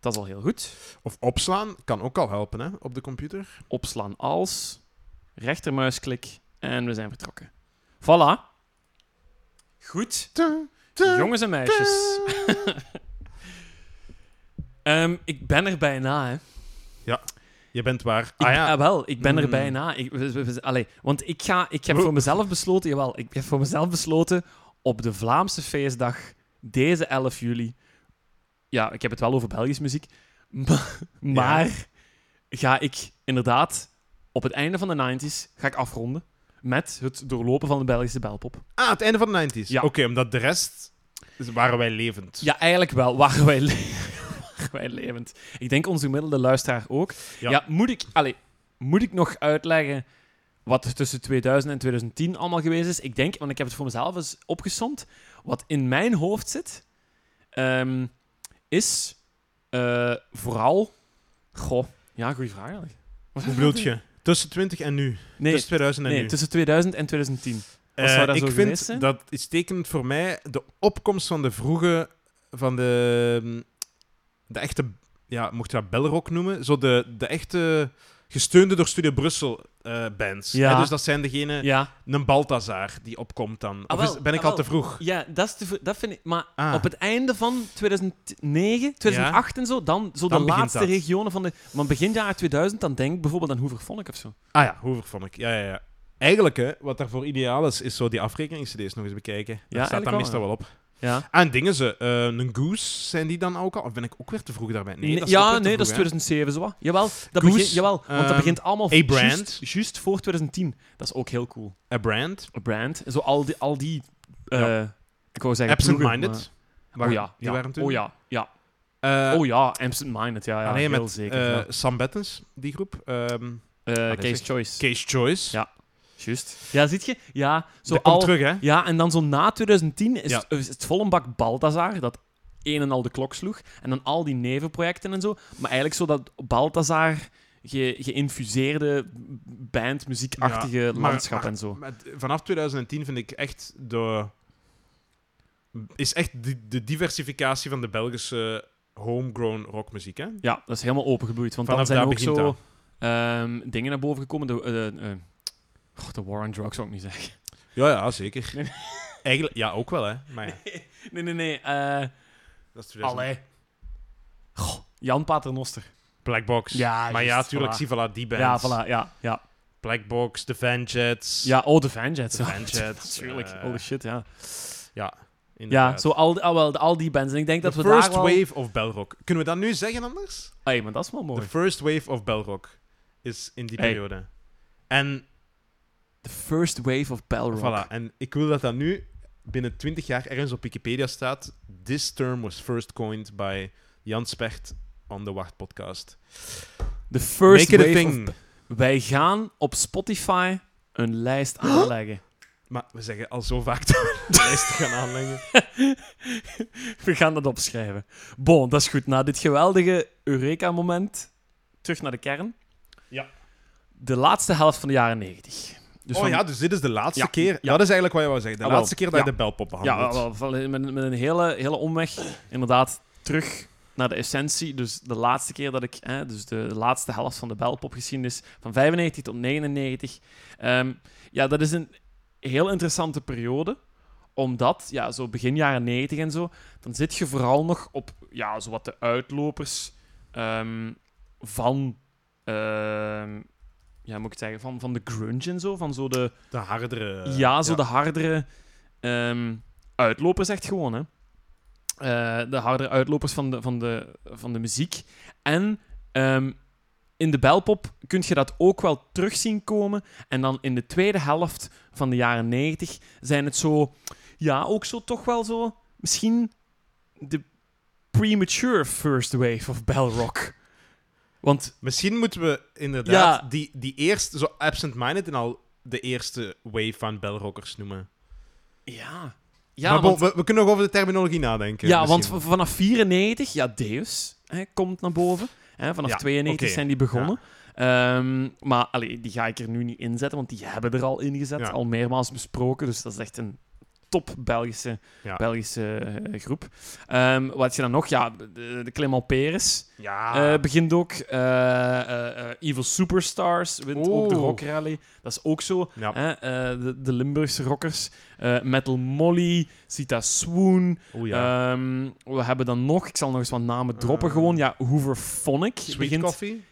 S1: Dat is al heel goed.
S2: Of opslaan kan ook al helpen hè, op de computer.
S1: Opslaan als, rechtermuisklik en we zijn vertrokken. Voilà. Goed. Jongens en meisjes. Ehm, ik ben er bijna, hè.
S2: Je bent waar.
S1: Ik,
S2: Ah ja,
S1: ah, wel, ik ben er
S2: Mm.
S1: bijna. Ik, we- we- we- allee, want ik, ga, ik heb
S2: Oeh.
S1: voor mezelf besloten, jawel, ik heb voor mezelf besloten op de Vlaamse feestdag, deze 11 juli. Ja, ik heb het wel over Belgisch muziek. Maar, maar ga ik inderdaad op het einde van de 90s ga ik afronden met het doorlopen van de Belgische belpop.
S2: ah, het einde van de 90s.
S1: Ja.
S2: Oké, omdat de rest dus waren wij levend.
S1: Ja, eigenlijk wel. Waren wij, le- waren wij levend. Ik denk onze gemiddelde luisteraar ook. Ja,
S2: Ja.
S1: moet, ik, allee, moet ik nog uitleggen wat er tussen 2000 en 2010 allemaal geweest is? Ik denk, want ik heb het voor mezelf eens opgesomd. Wat in mijn hoofd zit, ehm, is eh, vooral... Goh, ja, goede vraag eigenlijk.
S2: Hoe bedoelt je? Tussen 20 en nu.
S1: Nee,
S2: Tussen 2000 en
S1: nee,
S2: nu.
S1: tussen 2000 en 2010. Wat
S2: Eh,
S1: zou dat
S2: ik
S1: zo geweest zijn?
S2: vind dat is tekenend voor mij de opkomst van de vroege, van de, ehm, de echte, ja, mocht je dat belrock noemen? Zo de, de echte, gesteunde door Studio Brussel eh, bands.
S1: Ja.
S2: Hè, dus dat zijn degene,
S1: Ja,
S2: een Balthazar die opkomt dan.
S1: Ah,
S2: of is-
S1: wel,
S2: ben ik
S1: ah,
S2: al te vroeg?
S1: ja dat, is te vr- dat vind ik... Maar
S2: Ah.
S1: Op het einde van 2009, 2008 en zo, dan zo
S2: Dan
S1: de
S2: begint
S1: laatste
S2: dat.
S1: regionen van de. Maar begin jaren 2000, dan denk ik bijvoorbeeld aan Hoever Vonk of zo.
S2: Ah ja, Hoover vond ik. Ja, ja, ja. Eigenlijk, hè, wat daarvoor ideaal is, is zo die afrekeningscd's nog eens bekijken. daar staat
S1: eigenlijk
S2: dan
S1: wel,
S2: meestal
S1: ja.
S2: wel op.
S1: Ja,
S2: Ah, en dingen ze, eh, een Goose, zijn die dan ook al? Of ben ik ook weer te vroeg daarbij? Nee, dat is ook
S1: ja
S2: weer te
S1: nee, dat is
S2: vroeg, hè.
S1: 2007 zo. wat. Jawel, dat
S2: Goose,
S1: begint, jawel want dat
S2: ehm,
S1: begint allemaal
S2: A
S1: juist-
S2: Brand.
S1: juist voor 2010. Dat is ook heel cool.
S2: A Brand.
S1: A Brand. Zo al die. Al die eh, Ik wou zeggen. ploegen,
S2: Absent-minded.
S1: maar-
S2: Waar-
S1: Oh ja.
S2: Die
S1: ja.
S2: waren toen.
S1: Oh ja. ja.
S2: Eh,
S1: oh ja, Absent Minded. Ja, ja
S2: alleen
S1: heel
S2: met
S1: zeker.
S2: eh,
S1: ja.
S2: Sam Bettens, die groep. Ehm
S1: Eh,
S2: dat
S1: Case
S2: zeg-
S1: Choice.
S2: Case Choice.
S1: Ja, Juist. Ja, ziet je? Ja, zo
S2: dat
S1: al.
S2: komt terug, hè?
S1: Ja, en dan zo na 2010 is,
S2: Ja.
S1: is het vol een bak Balthazar, dat een en al de klok sloeg. En dan al die nevenprojecten en zo. Maar eigenlijk zo dat Balthazar ge- geïnfuseerde bandmuziekachtige
S2: Ja, maar-
S1: landschap
S2: maar-
S1: en zo.
S2: Maar d- vanaf 2010 vind ik echt de... Is echt de, de diversificatie van de Belgische homegrown rockmuziek, hè?
S1: Ja, dat is helemaal opengebloeid. Want
S2: Vanaf
S1: dan zijn
S2: daar
S1: ook
S2: begint
S1: zo
S2: dat.
S1: ehm, dingen naar boven gekomen. De, eh, eh, goh, de War on Drugs zou ik niet zeggen.
S2: Ja, ja, zeker. Eigenlijk, ja, ook wel, hè? Maar ja,
S1: Nee, nee, nee. eh
S2: dat is 2000.
S1: allee. Goh, Jan Paternoster.
S2: Black Box.
S1: Ja,
S2: maar ja,
S1: juist,
S2: tuurlijk,
S1: voilà.
S2: zie, voilà, die band.
S1: Ja, voilà. Ja, ja.
S2: Black Box, The Vanjets.
S1: ja oh, de Vanjets.
S2: De
S1: ja.
S2: Vanjets,
S1: Natuurlijk.
S2: eh,
S1: Holy shit, ja.
S2: Ja,
S1: Ja,
S2: inderdaad.
S1: zo al, die- al, wel, al die bands. En ik denk
S2: The
S1: dat we daar
S2: first
S1: wel...
S2: wave of Belrock. Kunnen we dat nu zeggen anders?
S1: Hey, maar dat is wel
S2: The
S1: mooi.
S2: first wave of Belrock is in die
S1: Hey.
S2: periode. En,
S1: The first wave of Belrock.
S2: voilà, en ik wil dat dat nu binnen 20 jaar ergens op Wikipedia staat. This term was first coined by Jan Specht on the Wacht podcast.
S1: The first
S2: Make it a
S1: wave
S2: thing.
S1: of- Wij gaan op Spotify een lijst aanleggen.
S2: Maar we zeggen al zo vaak dat we de lijst gaan aanleggen.
S1: We gaan dat opschrijven. Bon, dat is goed. Na dit geweldige Eureka-moment, terug naar de kern.
S2: Ja.
S1: De laatste helft van de jaren 90. Dus
S2: oh
S1: van-
S2: ja, dus dit is de laatste
S1: Ja,
S2: keer.
S1: ja.
S2: Dat is eigenlijk wat je wou zeggen. De
S1: Ah, wel.
S2: laatste keer dat je
S1: Ja.
S2: de belpop behandelt.
S1: Ja, wel, wel, met, met een hele, hele omweg. Inderdaad, terug naar de essentie. Dus de laatste keer dat ik... Hè, dus de laatste helft van de belpopgeschiedenis. Van 95 tot 99. Ehm, ja, dat is een heel interessante periode. Omdat, ja, zo begin jaren 90 en zo... Dan zit je vooral nog op, ja, zowat de uitlopers ehm, van... ehm, ja, moet ik het zeggen? Van, van de grunge en zo. Van zo de...
S2: De hardere...
S1: Ja, zo de hardere ehm, uitlopers echt gewoon, hè. Eh, de hardere uitlopers van de, van de, van de muziek. En ehm, in de belpop kun je dat ook wel terug zien komen. En dan in de tweede helft van de jaren 90 zijn het zo... Ja, ook zo toch wel zo... Misschien de premature first wave of belrock. Want
S2: Misschien moeten we inderdaad
S1: Ja.
S2: die, die eerste, zo absent-minded en al de eerste wave van belrockers noemen.
S1: ja... Ja,
S2: maar bon,
S1: want-
S2: we, we kunnen nog over de terminologie nadenken.
S1: Ja, want
S2: misschien.
S1: v- vanaf 94, ja, Deus hè, komt naar boven. Hè, vanaf
S2: Ja,
S1: 92
S2: oké.
S1: zijn die begonnen. Ehm, maar allee, die ga ik er nu niet inzetten, want die hebben er al in gezet,
S2: Ja.
S1: al meermaals besproken. Dus dat is echt een top Belgische,
S2: Ja.
S1: Belgische eh, groep. Ehm, wat had je dan nog? Ja, de, de Clément Peres
S2: Ja.
S1: eh, begint ook. Eh, eh, eh, Evil Superstars wint ook de
S2: Oeh.
S1: Rock Rally. Dat is ook zo.
S2: ja.
S1: Hè, eh, de, de Limburgse rockers. Eh, Metal Molly, Sita Swoon.
S2: Oeh, ja.
S1: Ehm, we hebben dan nog, ik zal nog eens wat namen droppen
S2: Eh.
S1: gewoon. Ja, Hooverphonic
S2: Sweet
S1: begint...
S2: Coffee.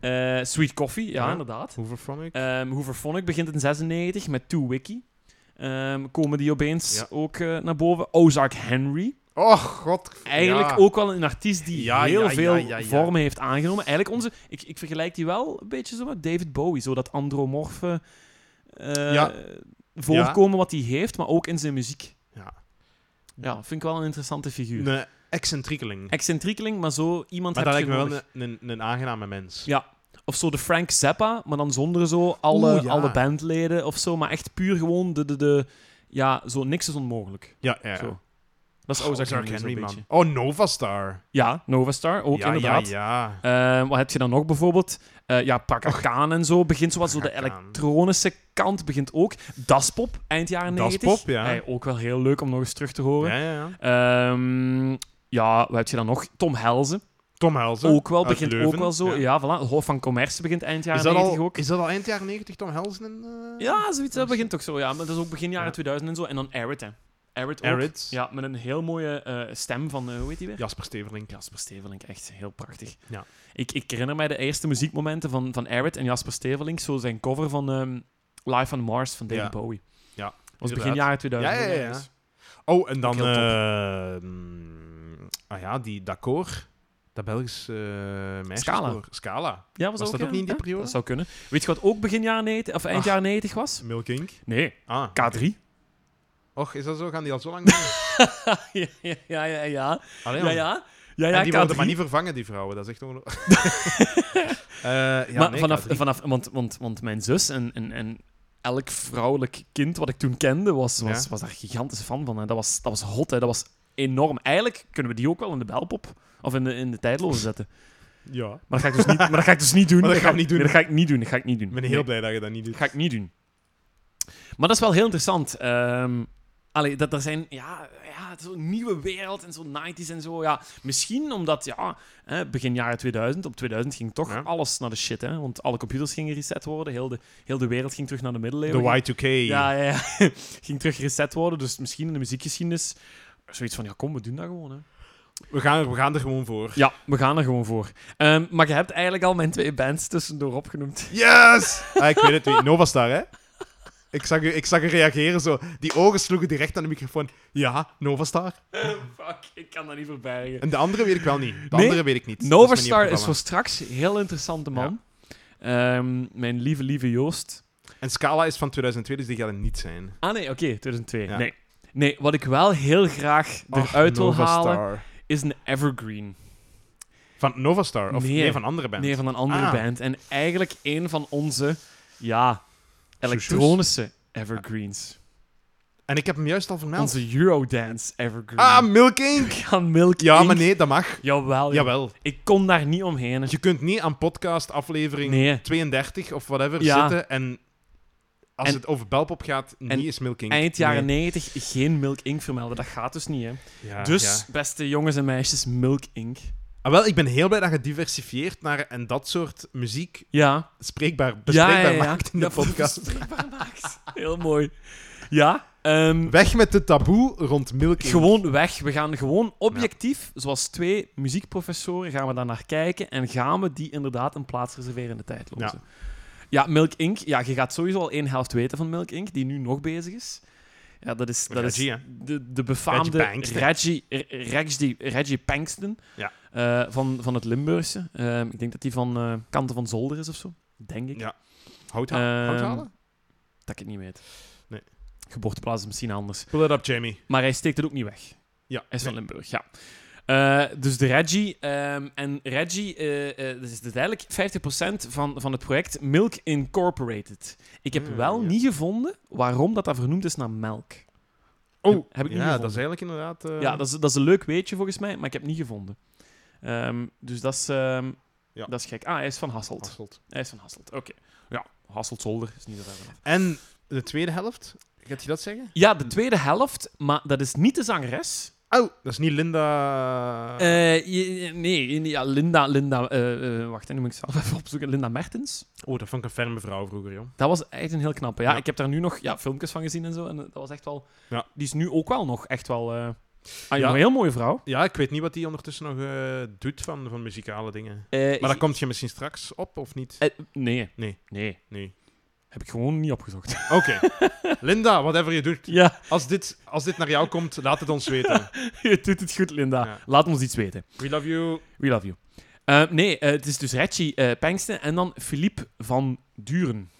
S1: eh, Sweet Coffee, ja,
S2: Ja.
S1: inderdaad.
S2: Hooverphonic.
S1: Ehm Hooverphonic begint in 96 met Two Wiki. Ehm, komen die opeens
S2: Ja.
S1: ook eh, naar boven. Ozark Henry.
S2: oh, god.
S1: Eigenlijk
S2: ja.
S1: ook wel een artiest die
S2: Ja,
S1: heel
S2: ja,
S1: veel
S2: ja, ja, ja.
S1: vormen heeft aangenomen. Eigenlijk onze... Ik, ik vergelijk die wel een beetje zo met David Bowie. Zo dat andromorfe eh,
S2: Ja.
S1: voorkomen wat hij heeft, maar ook in zijn muziek.
S2: Ja.
S1: Ja, vind ik wel een interessante figuur.
S2: Een excentriekeling.
S1: Excentriekeling, maar zo iemand
S2: Maar dat
S1: heb je
S2: lijkt me wel
S1: nodig.
S2: een, een, een aangename mens.
S1: Ja. Of zo de Frank Zappa, maar dan zonder zo alle,
S2: Oeh, ja.
S1: alle bandleden of zo. Maar echt puur gewoon de... de, de ja, zo niks is onmonmogelijk.
S2: Ja, ja.
S1: Zo. Dat is
S2: Oh,
S1: Ozark
S2: Ozark
S1: Henry, zo'n
S2: Henry, man.
S1: beetje.
S2: Oh, Nova Star.
S1: Ja, Novastar, ook
S2: ja,
S1: inderdaad.
S2: Ja, ja. Oh.
S1: Eh, wat heb je dan nog bijvoorbeeld? Eh, ja, Paka Khan en zo. Begint zoals zo de
S2: Paka Khan.
S1: elektronische kant begint ook. Daspop, eind jaren
S2: Das
S1: 90.
S2: Pop, ja.
S1: Hey, ook wel heel leuk om nog eens terug te horen.
S2: Ja, ja, ja.
S1: Ehm, ja, wat heb je dan nog? Tom Helzen.
S2: Tom Helzen.
S1: Ook wel,
S2: uit
S1: begint
S2: Leuven.
S1: ook wel zo. Ja, voilà. Hof van Commerce begint eind jaren
S2: Is, dat
S1: 90
S2: al,
S1: ook.
S2: is dat al eind jaren 90, Tom Helzen? En, eh,
S1: Ja, zoiets. Dat begint ook zo. Ja, maar dat is ook begin jaren
S2: Ja.
S1: 2000 en zo. En dan Arid, hè. Arid ook.
S2: Arid.
S1: Ja, met een heel mooie eh, stem van, eh, hoe heet die weer?
S2: Jasper Steverlink.
S1: Jasper Stevelink, echt heel prachtig.
S2: Ja.
S1: Ik, ik herinner mij de eerste muziekmomenten van, van Arid en Jasper Stevelink, zo zijn cover van ehm, Live on Mars van David
S2: Ja.
S1: Bowie.
S2: Ja,
S1: Dat was begin
S2: inderdaad.
S1: jaren
S2: Ja,
S1: 2000.
S2: ja, ja. ja.
S1: ergens.
S2: Oh, en dan...
S1: Ook heel top.
S2: eh, mm, ah ja, die D'accord. Dat Belgisch eh meisjeskoor.
S1: Scala.
S2: Scala.
S1: Ja, was,
S2: Was dat
S1: ja,
S2: ook niet in die
S1: hè?
S2: periode?
S1: Dat zou kunnen. Weet je wat ook begin jaren 90 of eind
S2: Ach.
S1: jaren 90 was?
S2: Milk Inc.
S1: Nee,
S2: Ah.
S1: K3.
S2: Och, is dat zo? Gaan die al zo lang doen?
S1: ja, ja, ja, ja, ja.
S2: Allee,
S1: Ja,
S2: man.
S1: ja. Ja,
S2: en
S1: ja,
S2: die
S1: K3.
S2: worden maar niet vervangen, die vrouwen. Dat is echt ongelooflijk. Eh, ja,
S1: maar
S2: nee,
S1: vanaf,
S2: K3.
S1: vanaf want, want, want mijn zus en, en, en elk vrouwelijk kind wat ik toen kende, was, was,
S2: Ja.
S1: was daar gigantische fan van. Hè. Dat, was, dat was hot, hè. dat was enorm. Eigenlijk kunnen we die ook wel in de belpop of in de, in de tijdloze zetten.
S2: Ja.
S1: Maar dat ga ik dus niet, maar dat ga ik dus niet doen.
S2: Maar dat gaan we niet doen.
S1: Nee, dat ga ik niet doen. Dat ga ik niet doen.
S2: Ik ben heel
S1: Nee,
S2: blij dat je dat niet doet.
S1: dat ga ik niet doen. Maar dat is wel heel interessant. Ehm allee, dat er zijn, ja, ja zo'n nieuwe wereld en zo'n 90s en zo. Ja, misschien omdat, ja, hè, begin jaren 2000, op 2000 ging toch
S2: Ja.
S1: alles naar de shit. Hè, want alle computers gingen reset worden. Heel de, heel de wereld ging terug naar de middeleeuwen.
S2: De Y2K.
S1: Ja, ja, ja. ging terug reset worden. Dus misschien in de muziekgeschiedenis zoiets van, ja, kom, we doen dat gewoon. Hè.
S2: We, gaan er, we gaan er gewoon voor.
S1: Ja, we gaan er gewoon voor. Ehm, maar je hebt eigenlijk al mijn twee bands tussendoor opgenoemd.
S2: Yes! Ah, ik weet het niet. Nova Star, hè? Ik zag, u, ik zag u reageren zo. Die ogen sloegen direct aan de microfoon. Ja, Nova Star.
S1: Fuck, ik kan dat niet verbergen.
S2: En de andere weet ik wel niet. De
S1: Nee,
S2: andere weet ik niet.
S1: Nova
S2: Dat is me
S1: Star
S2: niet
S1: is voor
S2: opgevallen.
S1: straks heel interessante man. Ehm, mijn lieve, lieve Joost.
S2: En Scala is van 2002, dus die gaat er niet zijn.
S1: Ah nee, oké, 2002.
S2: Ja.
S1: Nee. nee, wat ik wel heel graag
S2: Ach,
S1: eruit wil
S2: Nova
S1: halen,
S2: Star.
S1: is een evergreen.
S2: Van Nova Star? Of
S1: Nee.
S2: nee, van andere bands?
S1: Nee, van een andere
S2: Ah.
S1: band. En eigenlijk een van onze, ja, elektronische evergreens.
S2: En ik heb hem juist al vermeld.
S1: Onze Eurodance evergreen.
S2: Nou. Ah, Milk Inc!
S1: gaan Milk
S2: Ja,
S1: Inc.
S2: maar nee, dat mag.
S1: Jawel, jawel.
S2: Jawel.
S1: Ik kon daar niet omheen.
S2: Je kunt niet aan podcast aflevering
S1: Nee.
S2: 32 of whatever
S1: Ja.
S2: zitten en als
S1: En-
S2: het over Belpop gaat,
S1: en
S2: niet is Milk Inc.
S1: Eind jaren
S2: Nee.
S1: 90 geen Milk Inc. vermelden. Dat gaat dus niet, hè.
S2: Ja,
S1: Dus,
S2: ja.
S1: beste jongens en meisjes, Milk Inc.
S2: Ah, wel, ik ben heel blij dat je diversifieert naar en dat soort muziek
S1: Ja.
S2: spreekbaar, bespreekbaar maakt in de
S1: Ja,
S2: podcast.
S1: bespreekbaar maakt. Heel mooi. Ja. ehm,
S2: Weg met de taboe rond Milk Inc.
S1: gewoon weg. We gaan gewoon objectief, zoals twee muziekprofessoren, gaan we daar naar kijken en gaan we die inderdaad een plaats reserveren in de tijdloze. Ja.
S2: Ja.
S1: Milk Inc. Ja, je gaat sowieso al één helft weten van Milk Inc., die nu nog bezig is. Ja, dat is, dat
S2: Reggie,
S1: is
S2: hè?
S1: de, de befaamde
S2: Reggie Bankston.
S1: Reggie, Reggie, Reggie, Reggie Pankston
S2: Ja.
S1: eh, van, van het Limburgse. Eh, ik denk dat die van eh, Kanten van Zolder is of zo. Denk ik.
S2: Ja. Hout halen? hout
S1: Ehm,
S2: halen?
S1: Dat ik het niet weet.
S2: Nee.
S1: Geboorteplaats is misschien anders.
S2: Pull it up, Jamie.
S1: Maar hij steekt het ook niet weg.
S2: Ja.
S1: Hij is van
S2: nee.
S1: Limburg, ja. Eh, dus de Reggie. ehm, en Reggie, eh eh, dat is dus eigenlijk 50% van, van het project Milk Incorporated. Ik heb
S2: Hmm,
S1: wel
S2: ja.
S1: niet gevonden waarom dat, dat vernoemd is naar melk.
S2: Oh,
S1: heb ik niet
S2: ja,
S1: gevonden.
S2: dat is eigenlijk inderdaad... eh,
S1: Ja, dat is, dat is een leuk weetje volgens mij, maar ik heb het niet gevonden. Ehm, dus dat is, ehm,
S2: Ja.
S1: dat is gek. Ah, hij is van Hasselt.
S2: Hasselt.
S1: Hij is van Hasselt, oké. Ja, Hasselt-Zolder is niet zo ver vanaf.
S2: En de tweede helft
S4: Gaat je dat zeggen?
S1: Ja, de tweede helft, maar dat is niet de zangeres.
S2: Oh, dat is niet Linda.
S1: Eh, je- je- nee, ja, Linda, Linda, eh, eh, wacht, hè, nu moet ik zelf even opzoeken. Linda Mertens.
S2: oh, dat vond ik een ferme vrouw vroeger, joh.
S1: Dat was echt een heel knappe. Ja,
S2: Ja.
S1: ik heb daar nu nog ja, filmpjes van gezien en zo. En eh, dat was echt wel.
S2: Ja.
S1: Die is nu ook wel nog echt wel. eh, ah,
S2: Ja.
S1: Een heel mooie vrouw.
S2: Ja, ik weet niet wat die ondertussen nog eh, doet van, van muzikale dingen. Maar daar komt je misschien straks op, of niet?
S1: Eh, nee.
S2: Nee.
S1: Nee.
S2: Nee.
S1: Heb ik gewoon niet opgezocht.
S2: Oké. Linda, whatever je doet.
S1: ja,
S2: Als dit, als dit naar jou komt, laat het ons weten.
S1: je doet het goed, Linda.
S2: Ja.
S1: Laat ons iets weten.
S2: We love you.
S1: We love you. Eh, nee, eh, het is dus Reggie eh Pengsten en dan Philippe van Duren.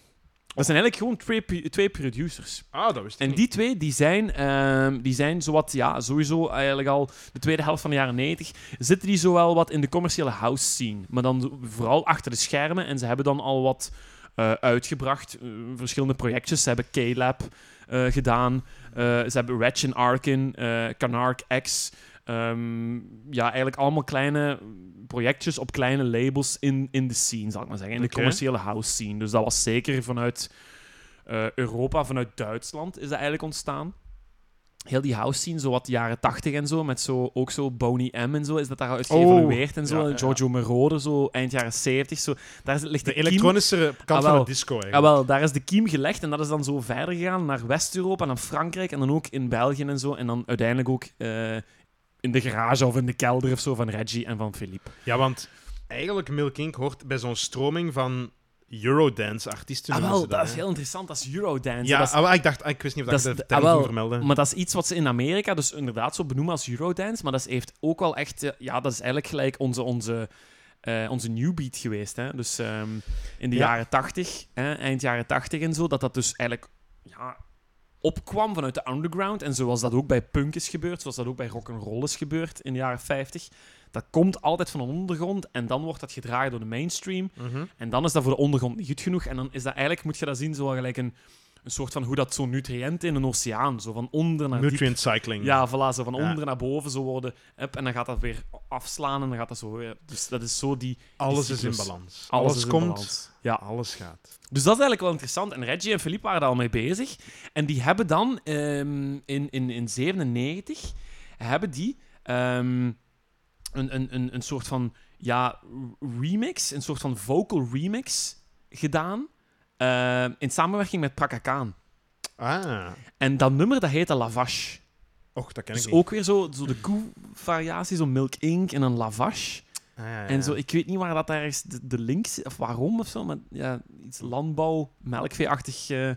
S1: Dat zijn eigenlijk gewoon twee, pu- twee producers.
S2: Ah, dat wist ik
S1: En
S2: niet.
S1: die twee die zijn, ehm, die zijn zowat, ja, sowieso eigenlijk al de tweede helft van de jaren 90. Zitten die zowel wat in de commerciële house scene, maar dan zo- vooral achter de schermen. En ze hebben dan al wat eh, uitgebracht, eh, verschillende projectjes. Ze hebben K-Lab eh, gedaan, Eh, ze hebben Ratch and Arkin, eh Canark X. Ehm, ja, eigenlijk allemaal kleine projectjes op kleine labels in, in de scene, zal ik maar zeggen. In de
S2: Oké.
S1: commerciële house scene. Dus dat was zeker vanuit eh, Europa, vanuit Duitsland is dat eigenlijk ontstaan. Heel die house scene, zo wat de jaren 80 en zo, met zo, ook zo Boney M en zo, is dat daaruit
S2: Oh,
S1: geëvolueerd en zo.
S2: ja, ja,
S1: en Giorgio Moroder, zo eind jaren 70, zo. Daar zit- ligt de,
S2: De
S1: kiem-
S2: elektronische kant
S1: Ah,
S2: van
S1: wel.
S2: het disco,
S1: Ah,
S2: eigenlijk.
S1: wel, daar is de kiem gelegd en dat is dan zo verder gegaan naar West-Europa, naar Frankrijk en dan ook in België en zo. En dan uiteindelijk ook eh, in de garage of in de kelder of zo van Reggie en van Philippe.
S2: Ja, want eigenlijk Milk Inc. hoort bij zo'n stroming van Eurodance-artiesten.
S1: Ah,
S2: noemen ze
S1: wel, dat is
S2: hè.
S1: heel interessant, dat is Eurodance.
S2: Ja,
S1: dat is-
S2: ah, wel, ik dacht, ah, ik wist niet of dat,
S1: Dat is
S2: ik de
S1: de- ah,
S2: term ging
S1: wel,
S2: vermelden.
S1: Maar dat is iets wat ze in Amerika dus inderdaad zo benoemen als Eurodance. Maar dat is- heeft ook wel echt... eh, Ja, dat is eigenlijk gelijk onze, onze, eh, onze new beat geweest. Hè? Dus ehm, in de
S2: Ja.
S1: jaren tachtig, eind jaren tachtig en zo, dat dat dus eigenlijk ja, opkwam vanuit de underground. En zoals dat ook bij punk is gebeurd, zoals dat ook bij rock'n'roll is gebeurd in de jaren 50. Dat komt altijd van de ondergrond en dan wordt dat gedragen door de mainstream.
S2: Mhm.
S1: En dan is dat voor de ondergrond niet goed genoeg. En dan is dat eigenlijk, moet je dat zien, zo gelijk een, een soort van hoe dat zo'n nutriënt in een oceaan, zo van onder naar diep.
S2: Nutrient cycling.
S1: Ja, voilà, zo van
S2: Ja.
S1: onder naar boven zo worden. Hup, en dan gaat dat weer afslaan en dan gaat dat zo weer. Dus dat is zo die.
S2: Alles
S1: die
S2: is in
S1: cyclus.
S2: balans. Alles,
S1: Alles, is in
S2: komt,
S1: balans. Ja.
S2: alles gaat.
S1: Dus dat is eigenlijk wel interessant. En Reggie en Philippe waren daar al mee bezig. En die hebben dan ehm, in, in, in 97 hebben die ehm, een, een, een, een soort van ja, remix, een soort van vocal remix gedaan. ehm, in samenwerking met Prakakaan.
S2: Ah,
S1: En dat nummer dat heette Lavash.
S2: och, dat ken
S1: Dus
S2: ik niet.
S1: ook weer zo, zo de koe-variatie, zo Milk Inc. en een Lavash.
S2: Ah, ja, ja,
S1: En zo,
S2: ja.
S1: ik weet niet waar dat ergens de, de link zit, of waarom of zo, maar ja, iets landbouw, melkveeachtig eh, eh,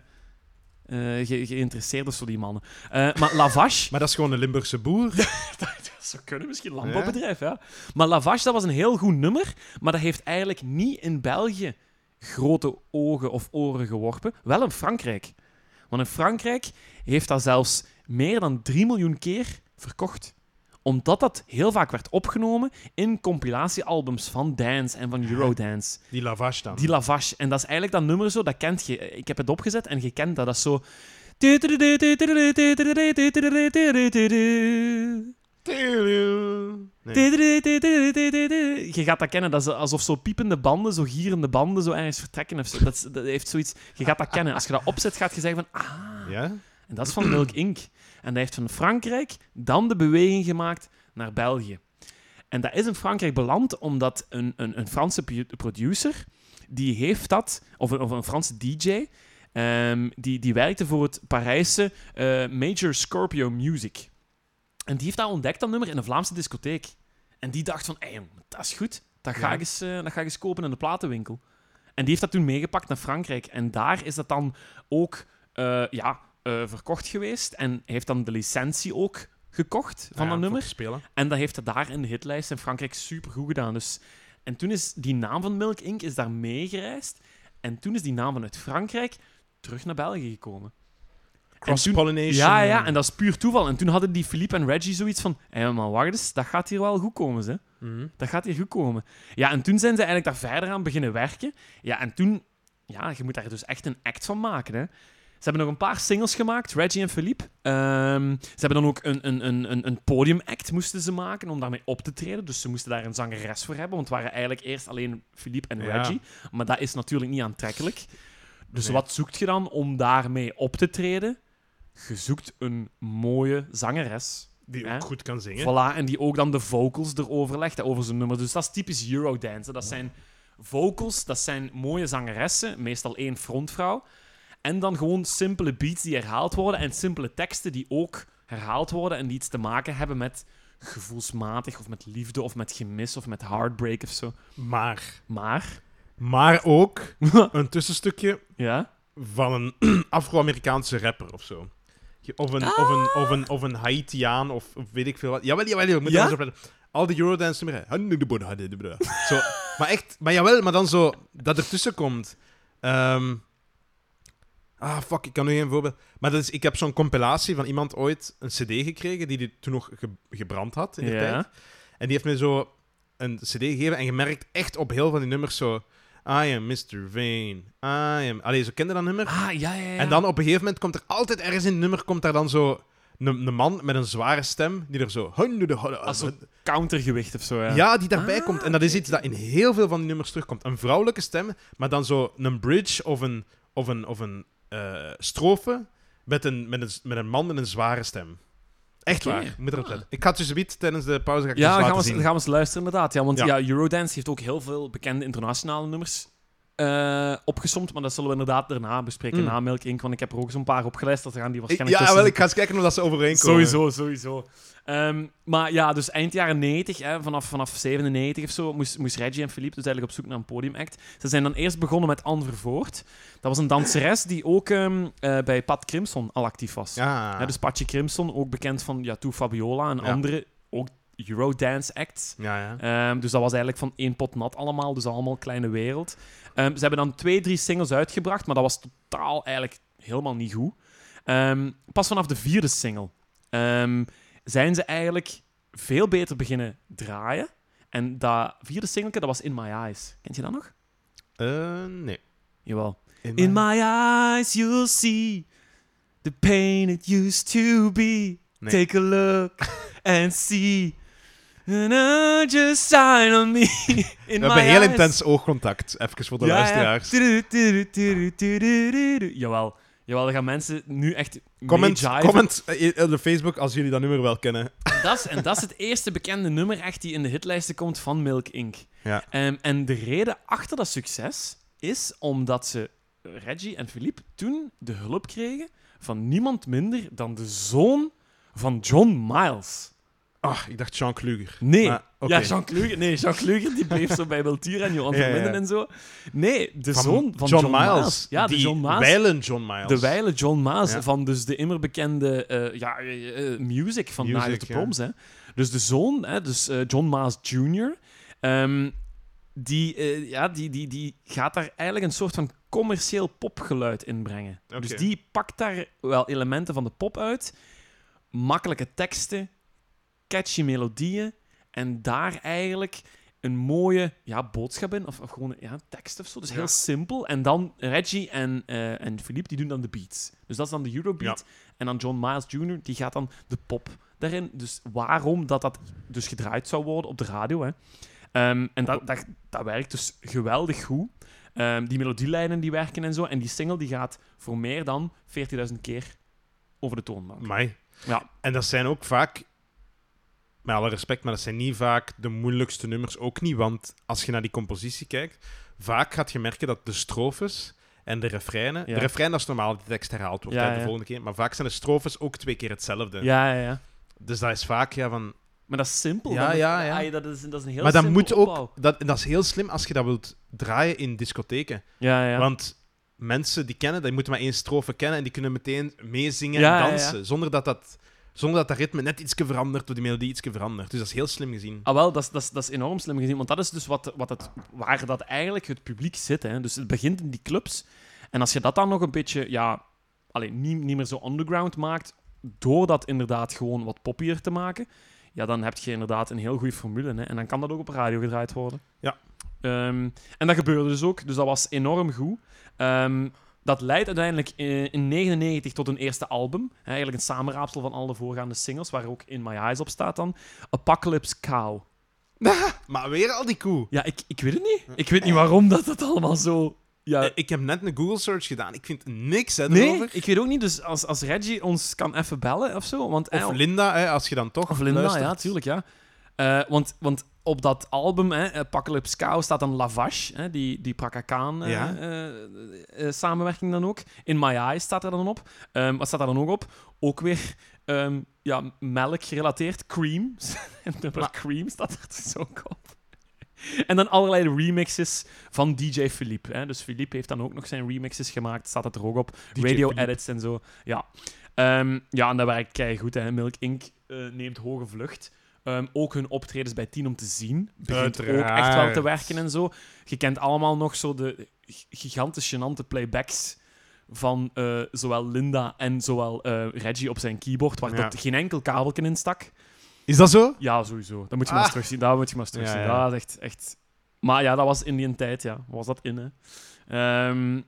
S1: ge- geïnteresseerd of zo, die mannen. Eh, maar Lavash,
S2: Maar dat is gewoon een Limburgse boer.
S1: dat zou kunnen misschien, landbouwbedrijf, ja. Maar Lavash, dat was een heel goed nummer, maar dat heeft eigenlijk niet in België grote ogen of oren geworpen. Wel in Frankrijk. Want in Frankrijk heeft dat zelfs meer dan 3 miljoen keer verkocht. Omdat dat heel vaak werd opgenomen in compilatiealbums van Dance en van Eurodance.
S2: Die lavage dan.
S1: Die Lavash. En dat is eigenlijk dat nummer zo, dat kent je. Ik heb het opgezet en je kent dat. Dat is zo...
S2: Nee.
S1: Je gaat dat kennen, dat is alsof zo piepende banden, zo gierende banden, zo ergens vertrekken. Of zo. Dat, is- dat heeft zoiets. Je gaat dat kennen. Als je dat opzet, gaat je zeggen van, ah,
S2: Ja?
S1: en dat is van Milk Inc. En dat heeft van Frankrijk dan de beweging gemaakt naar België. En dat is in Frankrijk beland omdat een, een, een Franse pu- producer, die heeft dat, of een, of een Franse DJ, ehm, die, die werkte voor het Parijse eh, Major Scorpio Music. En die heeft dat ontdekt, dat nummer, in een Vlaamse discotheek. En die dacht van, "Ey, jong, dat is goed, dat ga,
S2: Ja.
S1: ik eens, eh, dat ga ik eens kopen in de platenwinkel. En die heeft dat toen meegepakt naar Frankrijk. En daar is dat dan ook eh, ja, eh, verkocht geweest. En heeft dan de licentie ook gekocht van
S2: Ah,
S1: dat
S2: ja,
S1: nummer.
S2: voor te Spelen.
S1: En dat heeft het daar in de hitlijst in Frankrijk supergoed gedaan. Dus, en toen is die naam van Milk Inc. Is daar meegereisd. En toen is die naam vanuit Frankrijk terug naar België gekomen.
S2: Cross-pollination.
S1: Ja, ja, en dat is puur toeval. En toen hadden die Philippe en Reggie zoiets van... Hé, maar wacht eens, dat gaat hier wel goed komen, ze.
S2: Mhm.
S1: Dat gaat hier goed komen. Ja, en toen zijn ze eigenlijk daar verder aan beginnen werken. Ja, en toen... Ja, je moet daar dus echt een act van maken, hè. Ze hebben nog een paar singles gemaakt, Reggie en Philippe. Ehm, ze hebben dan ook een, een, een, een, een podiumact moesten ze maken om daarmee op te treden. Dus ze moesten daar een zangeres voor hebben, want het waren eigenlijk eerst alleen Philippe en
S2: Ja.
S1: Reggie. Maar dat is natuurlijk niet aantrekkelijk. Dus
S2: Nee.
S1: wat zoekt je dan om daarmee op te treden? je zoekt een mooie zangeres.
S2: Die
S1: Hè?
S2: ook goed kan zingen.
S1: Voilà, en die ook dan de vocals erover legt, hè, over zijn nummer. Dus dat is typisch Eurodance. hè. Dat zijn vocals, dat zijn mooie zangeressen, meestal één frontvrouw. En dan gewoon simpele beats die herhaald worden en simpele teksten die ook herhaald worden en die iets te maken hebben met gevoelsmatig of met liefde of met gemis of met heartbreak of zo.
S2: Maar,
S1: Maar,
S2: maar ook een tussenstukje
S1: ja,
S2: van een Afro-Amerikaanse rapper of zo. Je- Of een, of een, of een, of een Haitiaan of, of weet ik veel wat. Jawel, jawel, jawel. ik Moet
S1: Ja?
S2: ja? Al die Eurodance nummeren. Zo, maar echt, maar jawel, maar dan zo dat ertussen komt. Ehm, ah, fuck, ik kan nu geen voorbeeld. Maar dat is, ik heb zo'n compilatie van iemand ooit een CD gekregen die die toen nog ge- gebrand had in de tijd.
S1: ja.
S2: En die heeft me zo een CD gegeven en je merkt echt op heel van die nummers zo. I am Mr. Vane. I am. Allee, zo kende dat nummer.
S1: Ah, ja, ja, ja.
S2: En dan op een gegeven moment komt er altijd ergens in het nummer komt daar dan zo een, een man met een zware stem die er zo.
S1: Als zo'n countergewicht of zo, Ah, ja.
S2: Ja, die daarbij
S1: Ah,
S2: komt. En dat is iets dat in heel veel van die nummers terugkomt. Een vrouwelijke stem, maar dan zo een bridge of een, of een, of een eh, strofe met een, met, een, met een man met een zware stem. Echt
S1: Oké. Ah.
S2: waar. Je Moet erop letten. Ik ga het dus wit tijdens de pauze ga ik
S1: Ja, dan
S2: het eens
S1: gaan,
S2: laten
S1: we eens,
S2: zien.
S1: dan gaan we eens luisteren inderdaad. Ja, want ja.
S2: Ja.
S1: Eurodance heeft ook heel veel bekende internationale nummers eh, opgesomd. Maar dat zullen we inderdaad daarna bespreken,
S2: Mm.
S1: na Milk Inc. Want ik heb er ook zo'n paar opgeluisterd. Daar gaan die
S2: Ik-
S1: waarschijnlijk
S2: Ja,
S1: tussen
S2: wel, ik ga eens kijken hoe dat ze overeen komen.
S1: Sowieso, sowieso. Ehm, maar ja, dus eind jaren 90, hè, vanaf, vanaf 97 of zo, moest, moest Reggie en Philippe dus eigenlijk op zoek naar een podiumact. Ze zijn dan eerst begonnen met Anne Vervoort. Dat was een danseres die ook ehm, eh, bij Pat Crimson al actief was.
S2: Ja.
S1: Hè, dus Patje Crimson, ook bekend van ja, Toe Fabiola en
S2: Ah. Ja.
S1: andere, ook Eurodance acts.
S2: ja, ja.
S1: Ehm, dus dat was eigenlijk van één pot nat allemaal, dus allemaal kleine wereld. Ehm, ze hebben dan twee, drie singles uitgebracht, maar dat was totaal eigenlijk helemaal niet goed. Ehm, pas vanaf de vierde single ehm, zijn ze eigenlijk veel beter beginnen draaien. En dat vierde singeltje, dat was In My Eyes. Kent je dat nog?
S2: Eh, nee.
S1: Jawel. In my eyes you'll see the pain it used to be.
S2: Nee.
S1: Take a look and see. And I just sign on me. In
S2: We hebben heel intens oogcontact, even voor de luisteraars.
S1: Tudu, tudu, tudu, tudu, tudu. Jawel. Jawel, dan gaan mensen nu echt
S2: Comment,
S1: meejiven.
S2: comment eh, op Facebook als jullie dat nummer wel kennen.
S1: En dat, is, en dat is het eerste bekende nummer echt die in de hitlijsten komt van Milk Inc.
S2: Ja.
S1: Ehm, en de reden achter dat succes is omdat ze Reggie en Philippe toen de hulp kregen van niemand minder dan de zoon van John Miles.
S2: Ah, ik dacht Jean Kluger.
S1: Nee.
S2: Maar, oké.
S1: Ja, Jean Kluger, nee, Jean Kluger die bleef zo bij Beltier en Johan
S2: Ja,
S1: van
S2: ja, ja.
S1: Linden en zo. Nee, de zoon van
S2: John, Miles.
S1: Ja, de
S2: die
S1: John Miles.
S2: wijlen John Miles.
S1: De wijle John Maas
S2: Ja.
S1: van dus de immer bekende eh, ja, eh, eh, music van
S2: Music,
S1: Night of the
S2: ja.
S1: Proms. Hè. Dus de zoon, hè, dus, eh, John Maas Jr., ehm, die, eh, ja, die, die, die gaat daar eigenlijk een soort van commercieel popgeluid in brengen.
S2: Oké.
S1: Dus die pakt daar wel elementen van de pop uit, makkelijke teksten, catchy melodieën en daar eigenlijk een mooie ja, boodschap in, of, of gewoon ja, tekst of zo. Dus heel
S2: Ja.
S1: simpel. En dan Reggie en, eh, en Philippe, die doen dan de beats. Dus dat is dan de Eurobeat. En dan John Miles Jr., die gaat dan de pop daarin. Dus waarom dat dat dus gedraaid zou worden op de radio, hè. Ehm, en dat, dat, dat werkt dus geweldig goed. Ehm, die melodielijnen die werken en zo. En die single die gaat voor meer dan 14.000 keer over de toonbank.
S2: Amai.
S1: Ja.
S2: En dat zijn ook vaak, met alle respect, maar dat zijn niet vaak de moeilijkste nummers. Ook niet, want als je naar die compositie kijkt, vaak gaat je merken dat de strofes en de refreinen...
S1: Ja.
S2: De refrein, dat is normaal, dat die tekst herhaald wordt
S1: Ja,
S2: hè, de
S1: ja.
S2: volgende keer. Maar vaak zijn de strofes ook twee keer hetzelfde.
S1: Ja, ja, ja.
S2: Dus dat is vaak, ja, van...
S1: Maar dat is simpel.
S2: Ja,
S1: dat,
S2: ja, ja.
S1: ah, dat, is, dat is een heel
S2: maar dat
S1: simpel
S2: moet ook...
S1: opbouw.
S2: Dat, en dat is heel slim als je dat wilt draaien in discotheken.
S1: Ja, ja.
S2: Want mensen die kennen, die moeten maar één strofe kennen en die kunnen meteen meezingen
S1: Ja, ja,
S2: en
S1: ja.
S2: dansen. Zonder dat dat... Zonder dat dat ritme net iets verandert of die melodie iets verandert. Dus dat is heel slim gezien.
S1: Ah, wel, dat is, dat, is, dat is enorm slim gezien. Want dat is dus wat, wat het, waar dat eigenlijk het publiek zit. Hè. Dus het begint in die clubs. En als je dat dan nog een beetje, ja, alleen niet, niet meer zo underground maakt, door dat inderdaad gewoon wat poppier te maken, ja, dan heb je inderdaad een heel goede formule. Hè. En dan kan dat ook op radio gedraaid worden.
S2: Ja.
S1: Ehm, en dat gebeurde dus ook. Dus dat was enorm goed. Ehm, dat leidt uiteindelijk eh, in 99 tot een eerste album. Hè, eigenlijk een samenraapsel van al de voorgaande singles, waar ook In My Eyes op staat dan. Apocalypse Cow.
S2: Maar weer al die koe.
S1: Ja, ik, ik weet het niet. Ik weet niet waarom dat, dat allemaal zo Ja,
S2: Eh, ik heb net een Google search gedaan. Ik vind niks hè,
S1: nee,
S2: erover.
S1: ik weet ook niet. Dus als, als Reggie ons kan even bellen of zo. Want, eh,
S2: Of Linda, hè, als je dan toch.
S1: Of Linda,
S2: luistert.
S1: ja, tuurlijk, ja. Eh, want, want op dat album, hè, Apocalypse Cow, staat dan Lavage, hè, die, die Prakka Khan eh,
S2: Ja.
S1: eh, eh, samenwerking dan ook. In My Eyes staat er dan op. Ehm, wat staat er dan ook op? Ook weer ehm, ja, melk gerelateerd, Cream. Het nummer Cream staat er dus ook op. En dan allerlei remixes van DJ Philippe. Hè. Dus Philippe heeft dan ook nog zijn remixes gemaakt, staat het er ook op.
S2: DJ
S1: Radio
S2: Philippe.
S1: edits en zo. Ja, Ehm, ja en dat werkt kei goed. Hè. Milk Inc. eh, neemt hoge vlucht. Ehm, ook hun optredens bij Tien om te zien begint ook echt wel
S2: Uiteraard.
S1: te werken en zo. Je kent allemaal nog zo de g- gigantisch gênante playbacks van eh, zowel Linda en zowel eh, Reggie op zijn keyboard, waar
S2: Ja.
S1: dat geen enkel kabelken in stak.
S2: Is dat zo?
S1: Ja, sowieso. Dat moet je maar
S2: Ah.
S1: eens terugzien. Dat moet je maar eens terugzien.
S2: Ja, ja.
S1: Dat is echt, echt... Maar ja, dat was in die tijd, ja. Was dat in, hè. Ehm,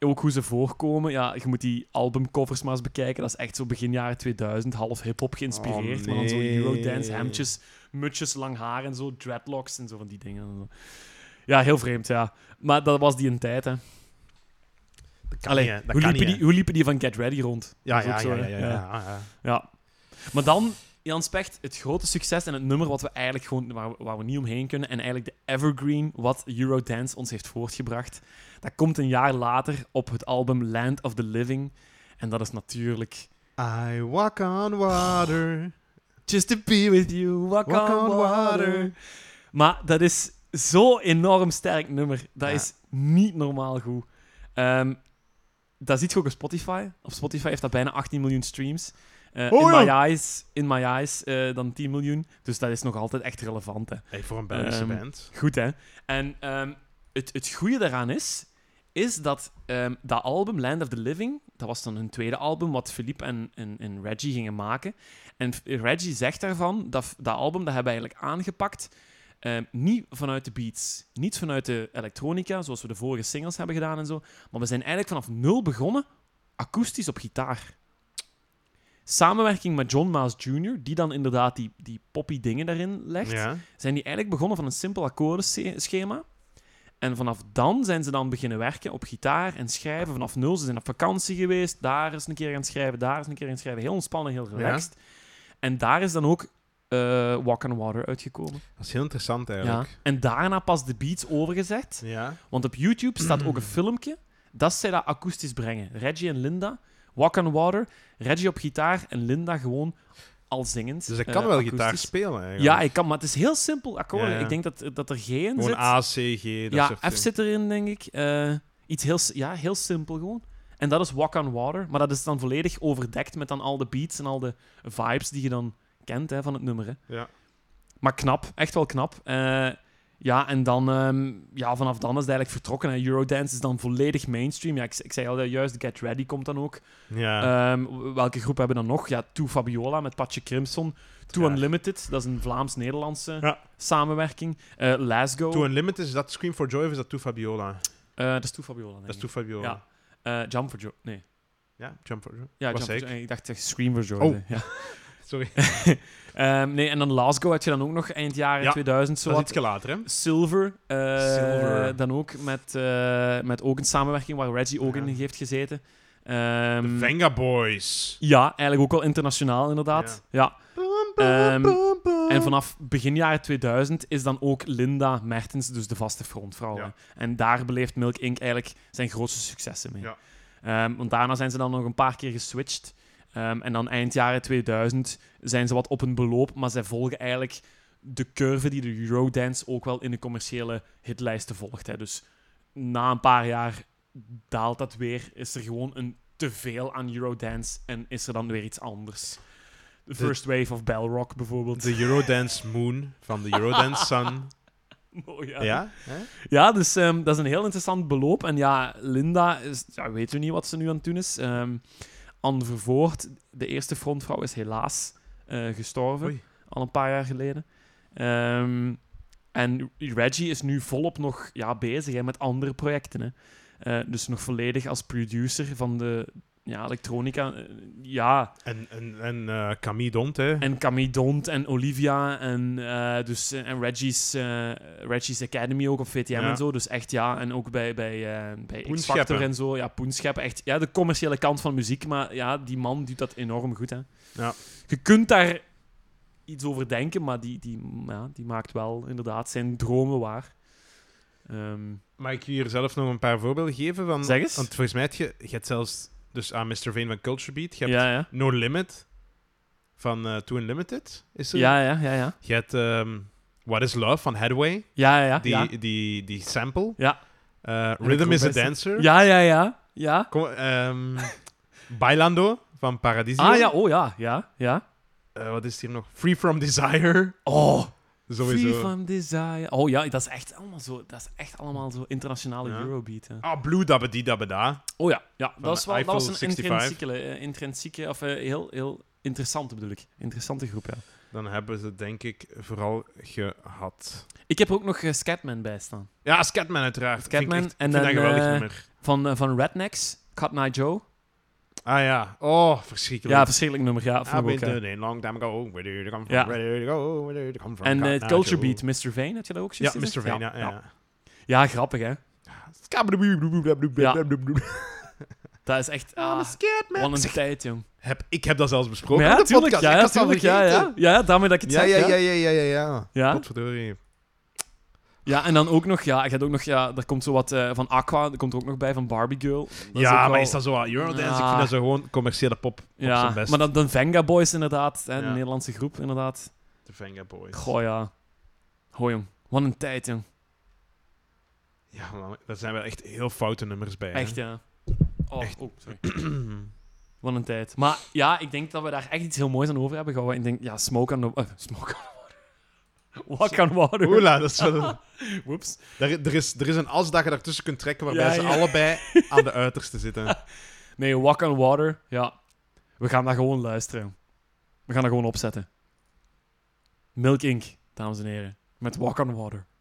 S1: ook hoe ze voorkomen. Ja, je moet die albumcovers maar eens bekijken. Dat is echt zo begin jaren 2000, half hip-hop geïnspireerd.
S2: Oh,
S1: Maar dan zo
S2: nee.
S1: Eurodance, hemdjes, mutjes, lang haar en zo, dreadlocks en zo van die dingen. Ja, heel vreemd, ja. Maar dat was die een tijd, hè.
S2: Dat kan
S1: Allee,
S2: niet, hè. Dat
S1: hoe,
S2: kan
S1: liepen
S2: niet,
S1: die, hoe liepen die van Get Ready rond?
S2: hè. Ja,
S1: Dat is
S2: ja,
S1: ook
S2: ja,
S1: zo,
S2: ja,
S1: hè.
S2: ja, ja, ja.
S1: Ja. Maar dan, Jan Specht, het grote succes en het nummer wat we eigenlijk gewoon, waar, we- waar we niet omheen kunnen. En eigenlijk de evergreen wat Eurodance ons heeft voortgebracht. Dat komt een jaar later op het album Land of the Living. En dat is natuurlijk...
S2: I walk on water.
S1: Just to be with you, walk,
S2: Walk
S1: on,
S2: on
S1: water.
S2: water.
S1: Maar dat is zo'n enorm sterk nummer. Dat
S2: Ja.
S1: is niet normaal goed. Ehm, dat ziet je ook op Spotify. Op Spotify heeft dat bijna 18 miljoen streams. Eh,
S2: Oh,
S1: in,
S2: ja.
S1: my eyes, in My Eyes eh, dan 10 miljoen. Dus dat is nog altijd echt relevant. Hè.
S2: Hey, voor een Belgische
S1: Ehm,
S2: band.
S1: Goed, hè? En ehm, het, het goede daaraan is, is dat ehm, dat album, Land of the Living, dat was dan hun tweede album, wat Philippe en, en, en Reggie gingen maken. En F- Reggie zegt daarvan, dat, dat album dat hebben we eigenlijk aangepakt, ehm, niet vanuit de beats, niet vanuit de elektronica, zoals we de vorige singles hebben gedaan en zo, maar we zijn eigenlijk vanaf nul begonnen, akoestisch op gitaar. Samenwerking met John Maas Jr., die dan inderdaad die, die poppy dingen daarin legt
S2: Ja.
S1: zijn die eigenlijk begonnen van een simpel akkoordenschema. En vanaf dan zijn ze dan beginnen werken op gitaar en schrijven vanaf nul. Ze zijn op vakantie geweest, daar is een keer gaan schrijven, daar is een keer gaan schrijven. Heel ontspannen, heel relaxed. En daar is dan ook eh, Walk on Water uitgekomen.
S2: Dat is heel interessant
S1: Ja.
S2: eigenlijk.
S1: En daarna pas de beats overgezet.
S2: Ja.
S1: Want op YouTube staat ook een filmpje dat zij dat akoestisch brengen. Reggie en Linda, Walk on Water, Reggie op gitaar en Linda gewoon al zingend.
S2: Dus ik
S1: eh,
S2: kan wel
S1: akoestisch.
S2: gitaar spelen eigenlijk.
S1: Ja, ik kan, maar het is heel simpel akkoorden.
S2: Ja, ja.
S1: Ik denk dat, dat er G in
S2: Gewoon
S1: zit.
S2: A, C, G, dat
S1: ja,
S2: soort
S1: F zit erin, denk ik. Eh, iets heel, s- ja, heel simpel gewoon. En dat is Walk on Water. Maar dat is dan volledig overdekt met dan al de beats en al de vibes die je dan kent hè, van het nummer. Hè.
S2: Ja.
S1: Maar knap, echt wel knap. Eh, ja, en dan, ehm, ja, vanaf dan is het eigenlijk vertrokken. Hè. Eurodance is dan volledig mainstream. Ja, ik, ik zei al dat juist, Get Ready komt dan ook.
S2: Ja.
S1: Ehm, w- welke groep hebben we dan nog? Ja, Toe Fabiola met Patje Crimson. Too
S2: Ja.
S1: Unlimited, dat is een Vlaams-Nederlandse
S2: Ja.
S1: samenwerking. Eh Lasgo,
S2: To Unlimited, is dat Scream for Joy of is dat To Fabiola?
S1: eh, dat is Toe Fabiola. denk
S2: Dat is
S1: ik.
S2: To Fabiola.
S1: Ja. Eh, Jump for Joy. Nee.
S2: Ja, Jump for Joy.
S1: Ja,
S2: Was
S1: Jump
S2: ik.
S1: for Joy. Ik dacht echt Scream for Joy.
S2: Oh.
S1: hè. Ja.
S2: Sorry.
S1: Ehm, nee, en dan Lasgo had je dan ook nog eind jaren
S2: Ja,
S1: 2000
S2: Dat is
S1: zowat.
S2: ietsje later,
S1: Ehm,
S2: hè?
S1: Silver, eh,
S2: Silver.
S1: dan ook met, eh, met ook een samenwerking waar Reggie ook
S2: Ja.
S1: in heeft gezeten.
S2: De
S1: Ehm,
S2: Venga Boys.
S1: ja, eigenlijk ook wel internationaal inderdaad. ja. Ehm, En vanaf begin jaren 2000 is dan ook Linda Mertens dus de vaste frontvrouw.
S2: Ja.
S1: hè. En daar beleeft Milk Inc. eigenlijk zijn grootste successen mee.
S2: Ja.
S1: Ehm, want daarna zijn ze dan nog een paar keer geswitcht. Ehm, en dan eind jaren 2000 zijn ze wat op een beloop, maar zij volgen eigenlijk de curve die de Eurodance ook wel in de commerciële hitlijsten volgt. Hè. Dus na een paar jaar daalt dat weer, is er gewoon een te veel aan Eurodance en is er dan weer iets anders. The
S2: De-
S1: First Wave of Bellrock bijvoorbeeld.
S2: De Eurodance Moon van de Eurodance Sun.
S1: Mooi, ja.
S2: Ja? hè?
S1: Ja, dus ehm, dat is een heel interessant beloop. En ja, Linda, is, ja, weet u niet wat ze nu aan het doen is. Ehm Anne Vervoort, de eerste frontvrouw, is helaas eh, gestorven.
S2: Oei.
S1: Al een paar jaar geleden. Ehm, en Reggie is nu volop nog ja, bezig hè, met andere projecten. Hè. Eh, dus nog volledig als producer van de ja, elektronica. eh, Ja,
S2: En, en, en eh Camille Dont, hè.
S1: en Camille Dont en Olivia en, eh, dus, eh, en Reggie's, eh, Reggie's Academy ook op VTM
S2: Ja.
S1: en zo. Dus echt ja, en ook bij, bij, eh bij X-Factor
S2: Poenscheppen.
S1: en zo. Ja, Poenscheppen. Echt ja, de commerciële kant van muziek. Maar ja, die man doet dat enorm goed. Hè.
S2: Ja.
S1: Je kunt daar iets over denken, maar die, die, ja, die maakt wel inderdaad zijn dromen waar. Ehm,
S2: Mag ik hier zelf nog een paar voorbeelden geven? Van,
S1: Zeg eens.
S2: Want volgens mij heb je, je hebt zelfs dus aan Mr. Vane van Culture Beat. Je hebt
S1: ja, ja.
S2: No Limit van eh Too Unlimited. Is er?
S1: Ja, ja, ja, ja.
S2: Je hebt ehm, What is Love van Headway.
S1: Ja, ja, ja.
S2: Die,
S1: Ah, ja.
S2: die, die sample.
S1: Ja.
S2: Eh,
S1: de
S2: Rhythm is a
S1: kroonbeste.
S2: Dancer.
S1: Ja, ja, ja. Ja.
S2: Kom, ehm, Bailando van Paradiso.
S1: Ah ja, oh ja, ja, ja.
S2: Eh, wat is het hier nog? Free From Desire.
S1: Oh,
S2: Sowieso.
S1: Free from Desire. Oh ja, dat is echt allemaal zo, dat is echt allemaal zo internationale
S2: Ja.
S1: Eurobeat. Hè.
S2: Ah, Blue Dabba Dee Dabba Da.
S1: Oh ja, ja dat, was wel, dat
S2: Eiffel
S1: was een
S2: 65.
S1: intrinsieke, eh, intrinsieke, of eh, heel, heel interessante bedoel ik. Interessante groep, ja.
S2: Dan hebben ze denk ik vooral gehad.
S1: Ik heb er ook nog eh, Scatman bij staan.
S2: Ja, Scatman uiteraard.
S1: Scatman
S2: Vind ik echt-
S1: en
S2: vind dat
S1: dan,
S2: een geweldig
S1: eh,
S2: nummer.
S1: Van, eh, van Rednecks, Cut Night Joe.
S2: Ah ja, oh, verschrikkelijk. Ah,
S1: Ja, verschrikkelijk nummer, ja.
S2: I've
S1: Vond ik ook,
S2: been
S1: eh.
S2: doing it long time ago. Where did it come from?
S1: Ja.
S2: Where did it go? Where did it come from?
S1: En eh,
S2: God,
S1: het
S2: now
S1: Culture
S2: Joe.
S1: Beat, Mr. Vane, had je dat ook
S2: Ja,
S1: juist
S2: Mr.
S1: gezegd?
S2: Vane, ja.
S1: ja.
S2: ja.
S1: Ja, grappig, hè. Dat is echt...
S2: I'm a
S1: Ah,
S2: Scatman.
S1: wat een
S2: Zeg,
S1: tijd, jong.
S2: heb, ik heb dat zelfs besproken
S1: Maar
S2: in
S1: ja,
S2: de
S1: tuurlijk,
S2: podcast.
S1: ja,
S2: Ik
S1: ja,
S2: had het al
S1: tuurlijk, ja, ja.
S2: vergeten.
S1: Ja, daarmee dat ik het
S2: Ja,
S1: zeg,
S2: ja, ja, ja, ja, ja, ja.
S1: Ja?
S2: Potverdorie.
S1: Ja, en dan ook nog, ja, ik had ook nog, ja, er komt zo wat eh, van Aqua, er komt er ook nog bij, van Barbie Girl. Dat is ook
S2: ja, maar
S1: wel-
S2: is dat zo wat Eurodance? Ik
S1: Ja.
S2: vind dat zo gewoon commerciële pop op
S1: Ja,
S2: zijn best.
S1: maar dan, dan Venga Boys inderdaad, hè, de
S2: Ja.
S1: Nederlandse groep inderdaad.
S2: De Venga Boys.
S1: Goh, ja. Goh, jong. Wat een tijd, jong.
S2: Ja, man, daar zijn wel echt heel foute nummers bij. hè.
S1: Echt, ja. Oh,
S2: Echt.
S1: oh, sorry. Wat een tijd. Maar ja, ik denk dat we daar echt iets heel moois aan over hebben gehouden. Ik denk, ja, Smoke on the... eh, smoke on the water. Walk on water.
S2: Oela, dat is wel...
S1: Whoops.
S2: daar- er, is, er is een as dat je daartussen kunt trekken waarbij
S1: Ja,
S2: ze
S1: ja.
S2: allebei aan de uiterste zitten.
S1: Nee, Walk on water, ja. We gaan daar gewoon luisteren. We gaan dat gewoon opzetten. Milk Inc., dames en heren. Met Walk on water.